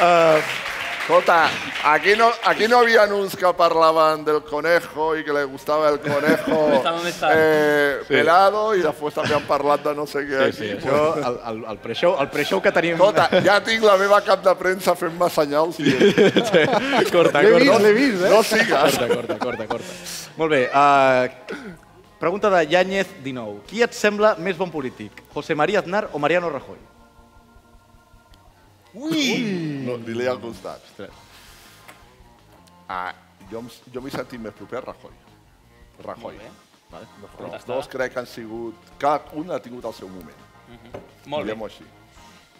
Speaker 12: Uh, Escolta, aquí no, aquí no havia uns que parlaven del conejo i que le gustava el conejo
Speaker 2: Està on està.
Speaker 12: eh,
Speaker 2: Sí.
Speaker 12: pelado i després també han parlat de no sé què.
Speaker 2: Sí, sí, això, el, el, el pre-show el pre que tenim...
Speaker 12: Escolta, ja tinc la meva cap de premsa fent-me senyals.
Speaker 2: Sí, corta,
Speaker 12: L'he vist,
Speaker 2: corta.
Speaker 12: l'he vist, eh?
Speaker 2: No sigues. Corta, corta, corta, corta. Molt bé. Uh, pregunta de Yáñez 19. Qui et sembla més bon polític? José María Aznar o Mariano Rajoy?
Speaker 12: Ui! No, li l'he al costat. Ah, jo em- jo m'he sentit més proper a Rajoy. Rajoy. Vale?
Speaker 3: Doncs
Speaker 12: Però Els dos crec que han sigut... Cada un ha tingut el seu moment.
Speaker 3: Molt bé.
Speaker 12: Diguem-ho així.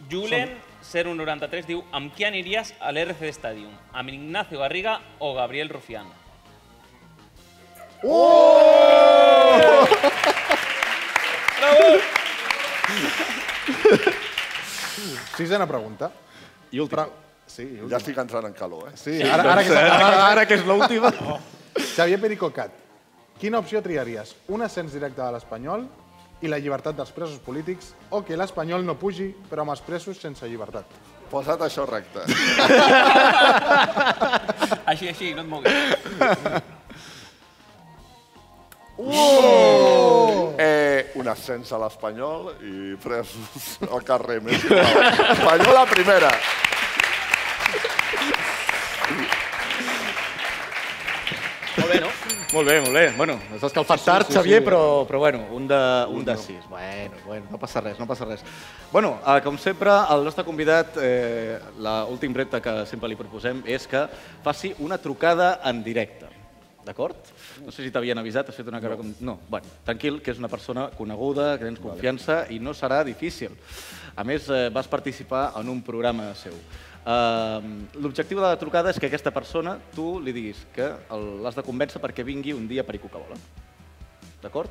Speaker 3: Julen0193 diu, amb qui aniries a l'RC Stadium? Amb Ignacio Garriga o Gabriel Rufián?
Speaker 4: Sisena pregunta.
Speaker 2: I última.
Speaker 4: Sí, i
Speaker 12: Ja
Speaker 4: última.
Speaker 12: estic entrant en calor, eh?
Speaker 4: Sí, ara, ara, que,
Speaker 12: Doncs,
Speaker 4: ara,
Speaker 12: eh,
Speaker 4: ara, que és l'última. Xavier Pericocat, quina opció triaries? Un ascens directe de l'Espanyol i la llibertat dels presos polítics o que l'Espanyol no pugi, però amb els presos sense llibertat?
Speaker 12: Posa't això recte.
Speaker 3: Així, així, no et moguis.
Speaker 12: Uh! Eh, un ascens a l'Espanyol i presos al carrer. Més igual. Espanyol a primera.
Speaker 3: Molt bé, no?
Speaker 2: Molt bé, molt bé. Bueno, has escalfat
Speaker 4: Sí, sí,
Speaker 2: tard,
Speaker 4: sí,
Speaker 2: Xavier,
Speaker 4: sí.
Speaker 2: però, però bueno, un de, un de sis. Bueno, bueno, no passa res, no passa res. Bueno, eh, com sempre, el nostre convidat, eh, l'últim repte que sempre li proposem és que faci una trucada en directe. D'acord? No sé si t'havien avisat, has fet una cara no. com... No, bueno, tranquil, que és una persona coneguda, que tens confiança i no serà difícil. A més, eh, vas participar en un programa seu. Uh, L'objectiu de la trucada és que aquesta persona tu li diguis que el- l'has de convèncer perquè vingui un dia per Ico que vola. D'acord?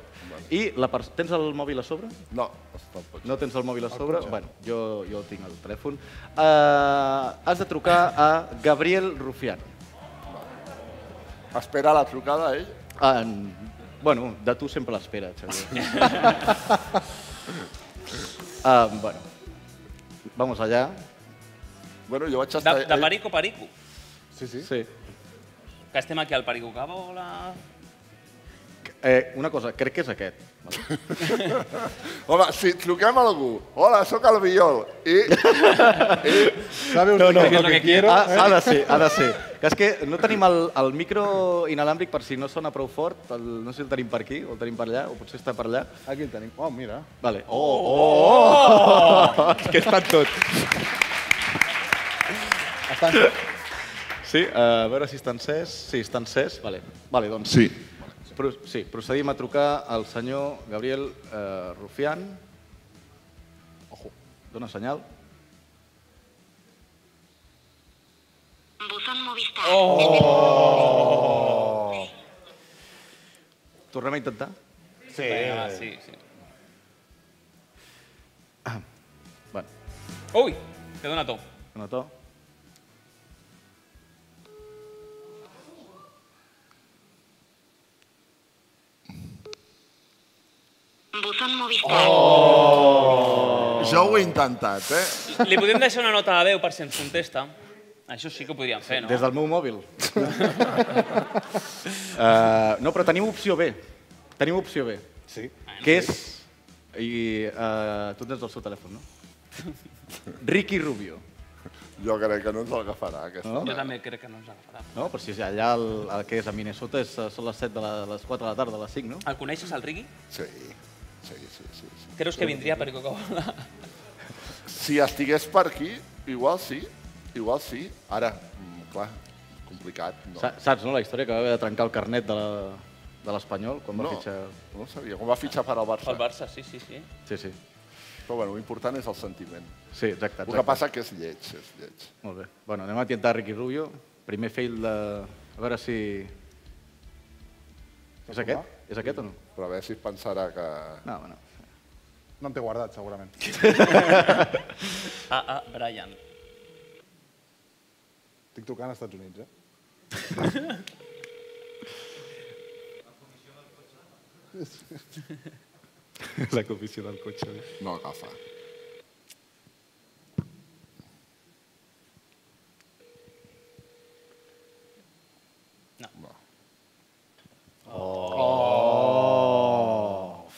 Speaker 2: I la pers- tens el mòbil a sobre?
Speaker 12: No, està al
Speaker 2: No tens el mòbil a sobre? Bueno, jo, jo el tinc al telèfon. Uh, has de trucar a Gabriel Rufián.
Speaker 12: Espera la trucada, ell?
Speaker 2: En... Bueno, de tu sempre l'espera, Xavier. uh, bueno, vamos allá.
Speaker 12: Bueno, jo vaig
Speaker 3: De, de Perico Perico,
Speaker 4: Sí, sí.
Speaker 2: sí.
Speaker 3: que estem aquí al Perico que vola...
Speaker 2: Eh, una cosa, crec que és aquest. Vale.
Speaker 12: Home, si truquem a algú, hola, sóc el Biol, i...
Speaker 4: Sabe usted qué es lo que quiero,
Speaker 2: Ha,
Speaker 4: eh?
Speaker 2: Ah, ha de ser, ha de ser. Que és que no tenim el, el micro inalàmbric per si no sona prou fort. El, no sé si el tenim per aquí, o el tenim per allà, o potser està per allà.
Speaker 4: Aquí el tenim. Oh, mira.
Speaker 2: Vale. Oh, oh, oh! És que estan tots.
Speaker 4: Estan...
Speaker 2: Sí, a veure si està encès. Sí, està encès. Vale, vale doncs...
Speaker 12: Sí.
Speaker 2: Pro sí, procedim a trucar al senyor Gabriel eh, Rufián. Ojo, dona senyal.
Speaker 4: Oh!
Speaker 2: Tornem a intentar?
Speaker 4: Sí.
Speaker 3: Vinga, va, Ah, sí, sí.
Speaker 2: Bueno,
Speaker 3: Ui, que dona to.
Speaker 2: dona to.
Speaker 7: Buzón Movistar.
Speaker 12: Oh! Jo ho he intentat, eh?
Speaker 3: Li podem deixar una nota de veu per si ens contesta. Això sí que ho podríem fer, no?
Speaker 2: Des del meu mòbil. uh, no, però tenim opció B. Tenim opció B.
Speaker 4: Sí.
Speaker 2: Que és... I uh, tu tens el seu telèfon, no? Ricky Rubio.
Speaker 12: Jo crec que no ens l'agafarà, aquesta.
Speaker 2: No?
Speaker 3: Jo també crec que no ens agafarà.
Speaker 2: No, però si és allà el, el que és a Minnesota és, eh, són les 7 de la, les 4 de la tarda, les 5, no?
Speaker 3: El coneixes, el Ricky?
Speaker 12: Sí. Sí, sí, sí. sí.
Speaker 3: Creus que vindria per Coca-Cola?
Speaker 12: Si estigués per aquí, igual sí, igual sí. Ara, mm, clar, complicat. No,
Speaker 2: Sa- Saps, no, la història que va haver de trencar el carnet de la- de l'Espanyol quan va
Speaker 12: no,
Speaker 2: fitxar...
Speaker 12: no ho sabia. Com va fitxar per al Barça.
Speaker 3: Pel Barça, sí, sí, sí.
Speaker 2: Sí, sí.
Speaker 12: Però bueno, l'important és el sentiment.
Speaker 2: Sí, exacte.
Speaker 12: El que
Speaker 2: exacte.
Speaker 12: passa que és lleig, és lleig.
Speaker 2: Molt bé. Bueno, anem a tientar Ricky Rubio. Primer fail de... A veure si... És aquest? És aquest o no?
Speaker 12: Però a veure si pensarà que...
Speaker 2: No, bueno.
Speaker 4: No en té guardat, segurament.
Speaker 3: Ah, ah, Brian.
Speaker 4: Estic tocant als Estats Units, eh?
Speaker 2: La comissió del cotxe. eh.
Speaker 12: No agafa.
Speaker 2: Oh!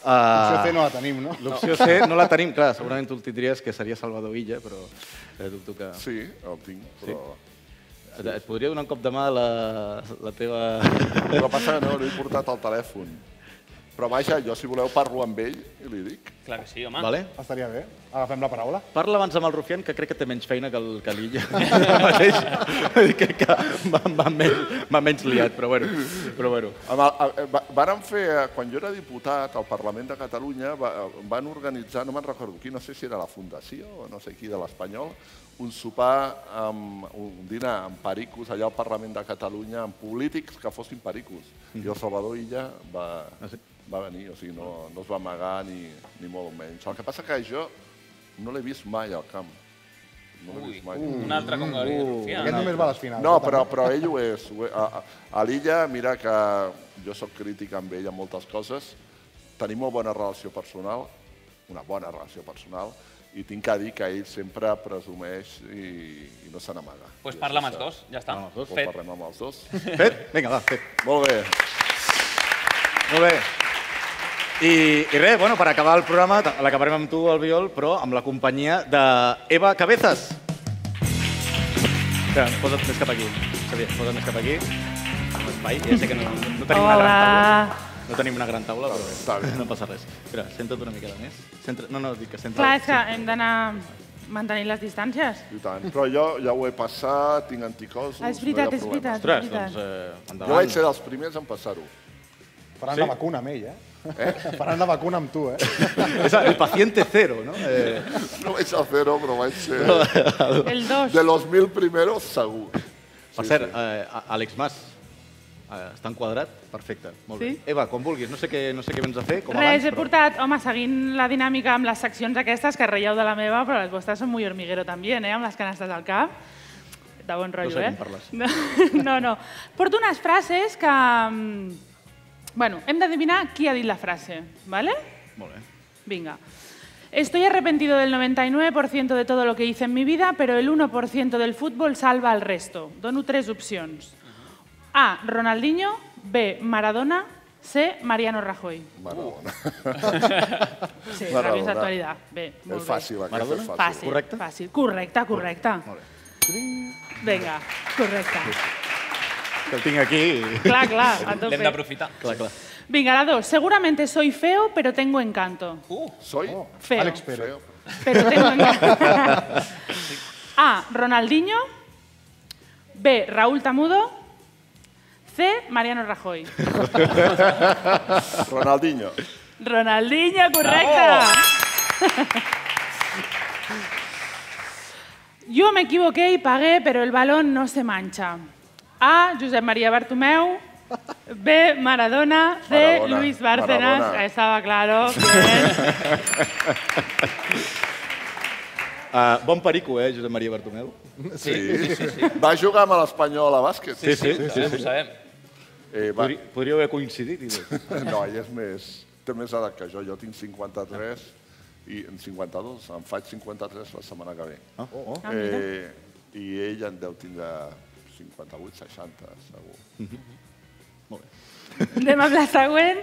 Speaker 2: Uh,
Speaker 4: L'opció C no la tenim, no?
Speaker 2: L'opció C no la tenim, clar, segurament tu el tindries, que seria Salvador Illa, però eh, dubto que...
Speaker 12: Sí, el tinc, però...
Speaker 2: Et, et podria donar un cop de mà la, la teva...
Speaker 12: El que passa que no, no he portat el telèfon. Però vaja, jo si voleu parlo amb ell i li dic.
Speaker 3: Clar que sí, home.
Speaker 2: Vale?
Speaker 4: Estaria bé. Agafem la paraula.
Speaker 2: Parla abans amb el Rufián, que crec que té menys feina que el que l'Illa. Ara mateix. Vull dir que, que m'ha m'ha menys, m'ha menys liat, però bueno. Però bueno.
Speaker 12: Amb el, eh, va- vàrem fer, eh, quan jo era diputat al Parlament de Catalunya, va, eh, van organitzar, no me'n recordo qui, no sé si era la Fundació o no sé qui de l'Espanyol, un sopar, amb, un dinar amb pericos allà al Parlament de Catalunya, amb polítics que fossin pericos. I el Salvador Illa va, va venir, o sigui, no, no es va amagar ni, ni molt menys. El que passa que jo no l'he vist mai al camp. No l'he
Speaker 3: Ui,
Speaker 12: vist mai.
Speaker 3: un altre com Gabriel
Speaker 2: Uh.
Speaker 3: Rufián.
Speaker 4: Aquest només va a les finals.
Speaker 12: No,
Speaker 4: eh,
Speaker 12: però,
Speaker 4: també.
Speaker 12: però ell ho és. Ho és. A, a, a l'Illa, mira que jo sóc crític amb ell en moltes coses, tenim molt bona relació personal, una bona relació personal, i tinc que dir que ell sempre presumeix i, i no se n'amaga.
Speaker 3: Doncs pues
Speaker 12: I
Speaker 3: parla
Speaker 12: això
Speaker 3: amb els
Speaker 12: s'ha-
Speaker 3: dos, ja està.
Speaker 2: Parla amb els dos,
Speaker 12: Doncs
Speaker 3: Fet.
Speaker 12: Parlem amb els dos.
Speaker 2: Fet? Vinga, va, fet.
Speaker 12: Molt bé.
Speaker 2: Molt bé. I, I res, bueno, per acabar el programa, ta- l'acabarem amb tu, Albiol, però amb la companyia d'Eva Cabezas. Espera, posa't més cap aquí. Xavier, posa't més cap aquí. Amb espai, ja sé que no, no tenim una gran taula.
Speaker 11: Hola.
Speaker 2: No tenim una gran taula, però
Speaker 12: Està bé.
Speaker 2: no passa res. Espera, senta't una miqueta més. Centra... No, no, dic que centra...
Speaker 11: Clar, és que hem d'anar... mantenint les distàncies.
Speaker 12: I tant. Però jo ja ho he passat, tinc anticossos,
Speaker 11: Ah, és veritat,
Speaker 12: no hi ha
Speaker 11: és veritat, és
Speaker 12: problemes.
Speaker 11: Ostres, veritat.
Speaker 12: doncs eh, endavant. Jo vaig ser dels primers en passar-ho.
Speaker 4: Faran
Speaker 12: Sí?
Speaker 4: la vacuna amb ell, eh?
Speaker 12: Eh?
Speaker 4: Faran la vacuna amb tu, eh?
Speaker 2: És el paciente cero, no?
Speaker 12: Eh... No vaig al zero, però vaig ser...
Speaker 11: El dos.
Speaker 12: De los mil primeros, segur.
Speaker 2: Per cert, eh, a- Àlex Mas, eh, està enquadrat? Perfecte, molt bé.
Speaker 11: Sí?
Speaker 2: Eva, quan vulguis, no sé què, no sé què vens a fer, com
Speaker 11: Res,
Speaker 2: abans,
Speaker 11: he portat, home, seguint la dinàmica amb les seccions aquestes, que reieu de la meva, però les vostres són muy hormiguero també, eh, amb les canastes al cap. De bon rotllo,
Speaker 2: sé
Speaker 11: eh?
Speaker 2: quin parles.
Speaker 11: No, no, no. Porto unes frases que... mm, Bueno, hem d'adivinar qui ha dit la frase, ¿vale?
Speaker 2: Molt bé.
Speaker 11: Venga. Estoy arrepentido del 99% de todo lo que hice en mi vida, pero el 1% del fútbol salva al resto. Dono tres opciones. A. Ronaldinho. B. Maradona. C. Mariano Rajoy.
Speaker 12: Maradona.
Speaker 11: Sí, Maradona. actualidad. Bé, molt
Speaker 12: és fàcil,
Speaker 11: bé.
Speaker 12: aquesta és fàcil.
Speaker 11: Fàcil, correcte? fàcil. Correcte, correcte. Molt
Speaker 2: bé.
Speaker 11: Vinga, correcte.
Speaker 2: que el tinc aquí.
Speaker 11: Clar, clar, a tope. L'hem
Speaker 3: d'aprofitar.
Speaker 2: Clar, clar.
Speaker 11: Vinga, la dos. Seguramente soy feo, pero tengo encanto.
Speaker 3: Uh,
Speaker 12: Soy
Speaker 11: Feo.
Speaker 4: Àlex Pérez.
Speaker 11: Pero tengo encanto. A. Ronaldinho. B. Raúl Tamudo. C. Mariano Rajoy.
Speaker 12: Ronaldinho.
Speaker 11: Ronaldinho, correcta. Yo me equivoqué y pagué, pero el balón no se mancha. A. Josep María Bartomeu. B. Maradona. C.
Speaker 12: Maradona,
Speaker 11: Luis Bárcenas.
Speaker 12: Maradona.
Speaker 11: Estaba claro. Bien.
Speaker 2: Uh, bon perico, eh, Josep Maria Bartomeu?
Speaker 12: Sí. Va jugar amb l'Espanyol a bàsquet.
Speaker 2: Sí, sí, sí, Ho sabem, sí. ho sabem.
Speaker 12: Eh, va.
Speaker 2: Podri, podríeu haver coincidit. I...
Speaker 12: No, ell és més, té més edat que jo. Jo tinc 53 i en 52, em faig 53 la setmana que ve.
Speaker 2: Ah, oh, oh. Ah, mira.
Speaker 12: Eh, I ell en deu tindre 58, 60, segur.
Speaker 11: Anem amb la següent.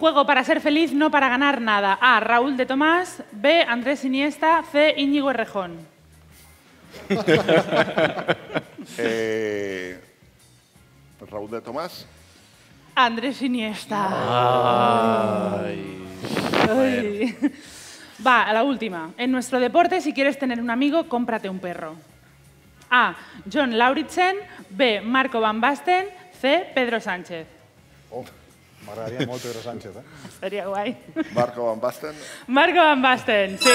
Speaker 11: Juego para ser feliz, no para ganar nada. A. Raúl de Tomás. B. Andrés Iniesta. C. Íñigo Errejón.
Speaker 12: Eh, Raúl de Tomàs?
Speaker 11: Andrés Iniesta.
Speaker 12: Ai.
Speaker 11: Ay. Va, a la última. En nuestro deporte, si quieres tener un amigo, cómprate un perro. A. John Lauritsen. B. Marco Van Basten. C. Pedro Sánchez.
Speaker 4: Oh, M'agradaria molt Pedro Sánchez, eh?
Speaker 11: Estaría guay.
Speaker 12: Marco Van Basten?
Speaker 11: Marco Van Basten, sí.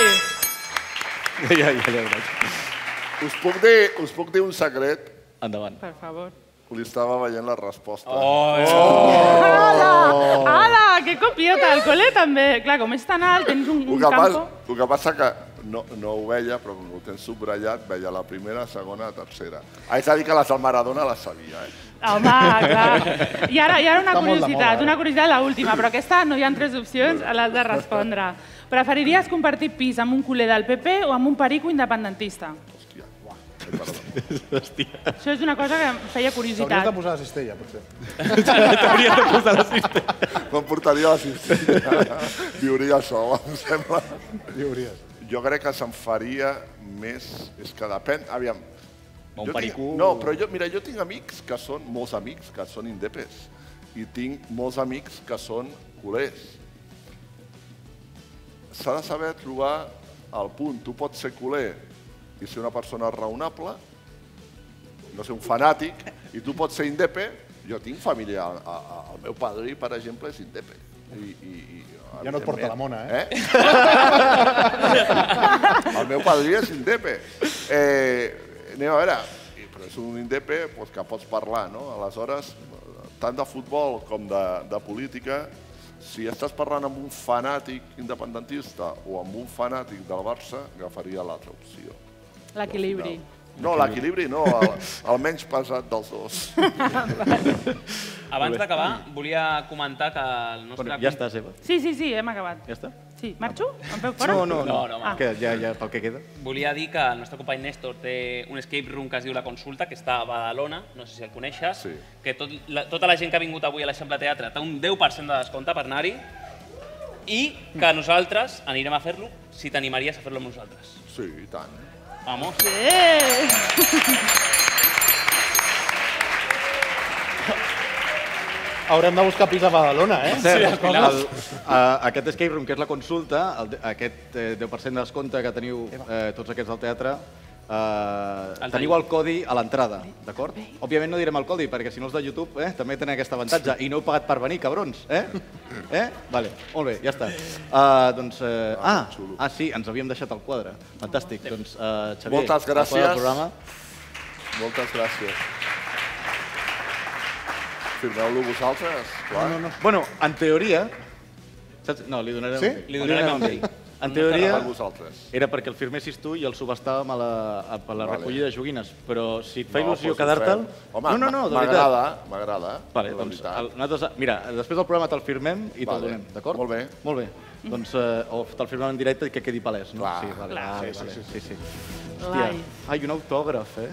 Speaker 2: Ja, ja, ja.
Speaker 12: Us puc dir, us puc dir un secret?
Speaker 2: Endavant.
Speaker 11: Por favor.
Speaker 12: Li estava veient la resposta.
Speaker 2: Oh,
Speaker 11: ¡Hala!
Speaker 12: Oh.
Speaker 11: ¡Hala! ¡Qué copiota! El cole també. Clar, com és tan alt, tens un,
Speaker 12: El
Speaker 11: un
Speaker 12: que, passa,
Speaker 11: campo...
Speaker 12: el que passa que no, no ho veia, però com ho tens subratllat, veia la primera, segona, tercera. Ah, és a dir que les del Maradona les sabia, eh?
Speaker 11: Home, clar. I ara, i ara una
Speaker 12: Està molt de moda, eh?
Speaker 11: curiositat,
Speaker 12: ara.
Speaker 11: una curiositat l'última, però aquesta no hi ha tres opcions a l'has de respondre. Preferiries compartir pis amb un culer del PP o amb un perico independentista?
Speaker 2: Hòstia.
Speaker 11: Això és una cosa que em feia
Speaker 4: T'hauries
Speaker 11: curiositat.
Speaker 4: de posar la cistella, potser.
Speaker 2: T'hauries de posar la cistella.
Speaker 12: M'emportaria la cistella. Viuria sol, em sembla.
Speaker 4: Viuries.
Speaker 12: Jo crec que se'n faria més... És que depèn... Aviam,
Speaker 2: Un
Speaker 12: jo tinc-
Speaker 2: perico-
Speaker 12: No, però jo, mira, jo tinc amics que són, molts amics que són indepes, i tinc molts amics que són culers. S'ha de saber trobar el punt. Tu pots ser culer i ser una persona raonable, no ser un fanàtic, i tu pots ser indepe. Jo tinc família, a- a- el meu padrí, per exemple, és indepe. I, i, i,
Speaker 4: Ja no et porta la mona, eh?
Speaker 12: eh? el meu padrí és indepe. Eh, anem a veure, i- però és un indepe doncs, que pots parlar, no? Aleshores, tant de futbol com de, de política, si estàs parlant amb un fanàtic independentista o amb un fanàtic del Barça, agafaria l'altra opció.
Speaker 11: L'equilibri.
Speaker 12: No, l'equilibri no, el, el menys pesat dels dos.
Speaker 3: Abans d'acabar, volia comentar que el nostre...
Speaker 2: Ja estàs, Eva.
Speaker 11: Sí, sí, sí, hem acabat.
Speaker 2: Ja està?
Speaker 11: Sí, marxo? Em feu fora?
Speaker 2: No, no, no.
Speaker 3: No, no,
Speaker 11: Ah.
Speaker 2: Que, ja, ja, pel que queda.
Speaker 3: Volia dir que el nostre company Néstor té un escape room que es diu La Consulta, que està a Badalona, no sé si el coneixes, sí. que tot, la, tota la gent que ha vingut avui a l'Eixample Teatre té un 10% de descompte per anar-hi i que nosaltres anirem a fer-lo si t'animaries a fer-lo amb nosaltres.
Speaker 12: Sí, i tant.
Speaker 3: Vamos.
Speaker 11: Sí.
Speaker 4: haurem de buscar pis a Badalona, eh?
Speaker 2: Cert,
Speaker 4: Les
Speaker 2: el,
Speaker 4: coses.
Speaker 2: a- aquest escape room, que és la consulta, el, de- aquest eh, 10% de descompte que teniu eh, tots aquests del teatre, eh,
Speaker 3: El
Speaker 2: teniu el codi a l'entrada, d'acord? Òbviament no direm el codi, perquè si no els de YouTube eh, també tenen aquest avantatge. I no heu pagat per venir, cabrons, eh? Eh? Vale, molt bé, ja està. Uh, doncs, eh, ah, ah, sí, ens havíem deixat el quadre. Fantàstic. Doncs, eh, Xavier,
Speaker 12: Moltes
Speaker 2: el quadre
Speaker 12: gràcies.
Speaker 2: Del programa.
Speaker 12: Moltes gràcies. Firmeu-lo vosaltres, clar.
Speaker 2: No, no, no. Bueno, en teoria... Saps? No, li donarem
Speaker 12: Sí?
Speaker 2: un
Speaker 12: Li donarem
Speaker 2: un
Speaker 12: un
Speaker 2: sí.
Speaker 12: sí.
Speaker 2: En
Speaker 12: No
Speaker 2: teoria,
Speaker 12: serà per vosaltres.
Speaker 2: era perquè el firmessis tu i el subestàvem a la, a, per la
Speaker 12: Vale.
Speaker 2: recollida de joguines, però si et fa
Speaker 12: No,
Speaker 2: il·lusió
Speaker 12: doncs ho
Speaker 2: quedar-te'l...
Speaker 12: fem. Home,
Speaker 2: no, no, no, de
Speaker 12: m'agrada,
Speaker 2: veritat.
Speaker 12: m'agrada,
Speaker 2: Vale,
Speaker 12: de
Speaker 2: doncs,
Speaker 12: veritat.
Speaker 2: el, nosaltres, mira, després del programa te'l firmem i te'l
Speaker 12: Vale.
Speaker 2: donem, d'acord? Molt bé. Molt bé. Doncs eh, o te'l firmem en directe i que quedi palès, no? sí, vale,
Speaker 12: clar.
Speaker 2: vale,
Speaker 12: Sí,
Speaker 2: vale,
Speaker 12: sí,
Speaker 2: sí, sí. Hòstia,
Speaker 12: Live.
Speaker 2: ai, un autògraf, eh?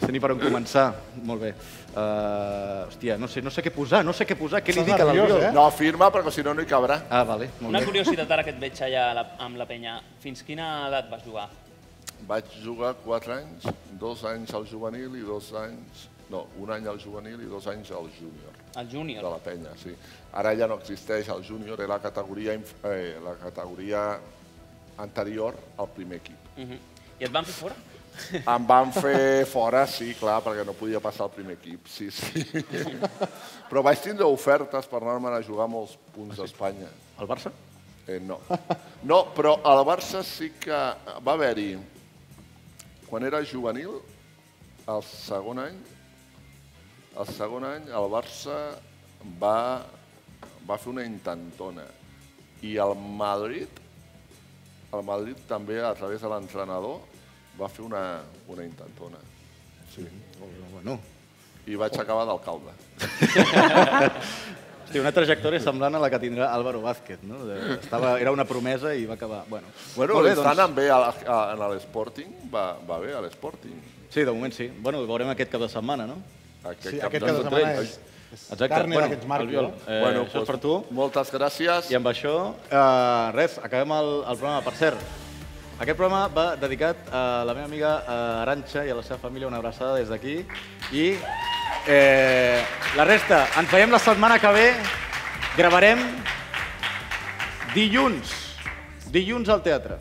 Speaker 2: sé ni per on començar. Molt bé. Uh, hòstia, no sé, no sé què posar, no sé què posar, què li dic a l'Albiol?
Speaker 12: Eh? No, firma, perquè si no, no hi cabrà.
Speaker 2: Ah, vale, molt
Speaker 3: Una
Speaker 2: bé.
Speaker 3: curiositat ara que et veig allà a la, amb la penya. Fins quina edat vas jugar?
Speaker 12: Vaig jugar 4 anys, 2 anys al juvenil i 2 anys... No, un any al juvenil i dos anys al júnior.
Speaker 3: Al júnior?
Speaker 12: De la penya, sí. Ara ja no existeix, el júnior era la categoria, inf- eh, la categoria anterior al primer equip.
Speaker 3: Uh -huh. I et van fer fora?
Speaker 12: Em van fer fora, sí, clar, perquè no podia passar al primer equip, sí, sí. Però vaig tindre ofertes per anar-me'n a jugar a molts punts d'Espanya.
Speaker 2: Al Barça?
Speaker 12: Eh, no. No, però al Barça sí que va haver-hi, quan era juvenil, el segon any, el segon any el Barça va, va fer una intentona. I el Madrid, el Madrid també, a través de l'entrenador, va fer una, una intentona. Sí.
Speaker 2: Bueno.
Speaker 12: I vaig acabar d'alcalde.
Speaker 2: Hòstia, una trajectòria semblant a la que tindrà Álvaro Vázquez, no? De- Estava, era una promesa i va acabar... Bueno,
Speaker 12: Bueno,
Speaker 2: Molt bé, doncs,
Speaker 12: bé, doncs. està anant bé a, la- a, en l'Sporting, va, va bé a l'Sporting.
Speaker 2: Sí, de moment sí. Bueno, ho veurem aquest cap de setmana, no?
Speaker 12: Aquest Sí, cap aquest de- cap de
Speaker 2: contra
Speaker 12: setmana
Speaker 2: ells.
Speaker 12: és- és
Speaker 2: Exacte.
Speaker 12: carne
Speaker 2: bueno,
Speaker 12: d'aquests marcos,
Speaker 2: Albiol,
Speaker 12: no?
Speaker 2: eh,
Speaker 12: Bueno,
Speaker 2: bueno, això
Speaker 12: doncs,
Speaker 2: és per tu.
Speaker 12: Moltes gràcies.
Speaker 2: I amb això, eh, res, acabem el, el programa. Per cert, aquest programa va dedicat a la meva amiga eh, Arantxa i a la seva família una abraçada des d'aquí. I eh, la resta, ens veiem la setmana que ve. Gravarem dilluns. Dilluns al teatre.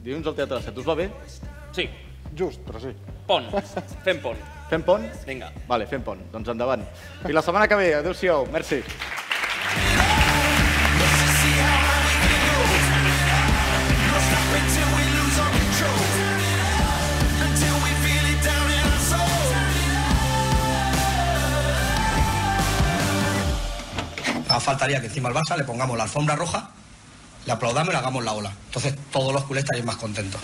Speaker 2: Dilluns al teatre de set. Us va bé?
Speaker 3: Sí.
Speaker 2: Just, però sí.
Speaker 3: Pont. Fem pont.
Speaker 2: Fem pont?
Speaker 3: Vinga.
Speaker 2: Vale, fem pont. Doncs endavant. I la setmana que ve. Adéu-siau. Merci.
Speaker 10: Until we lose our control. Until we feel it down in our soul.
Speaker 14: Ah, faltaría que encima al Barça le pongamos la alfombra roja, le aplaudamos y le hagamos la ola. Entonces todos los culés estarían más contentos.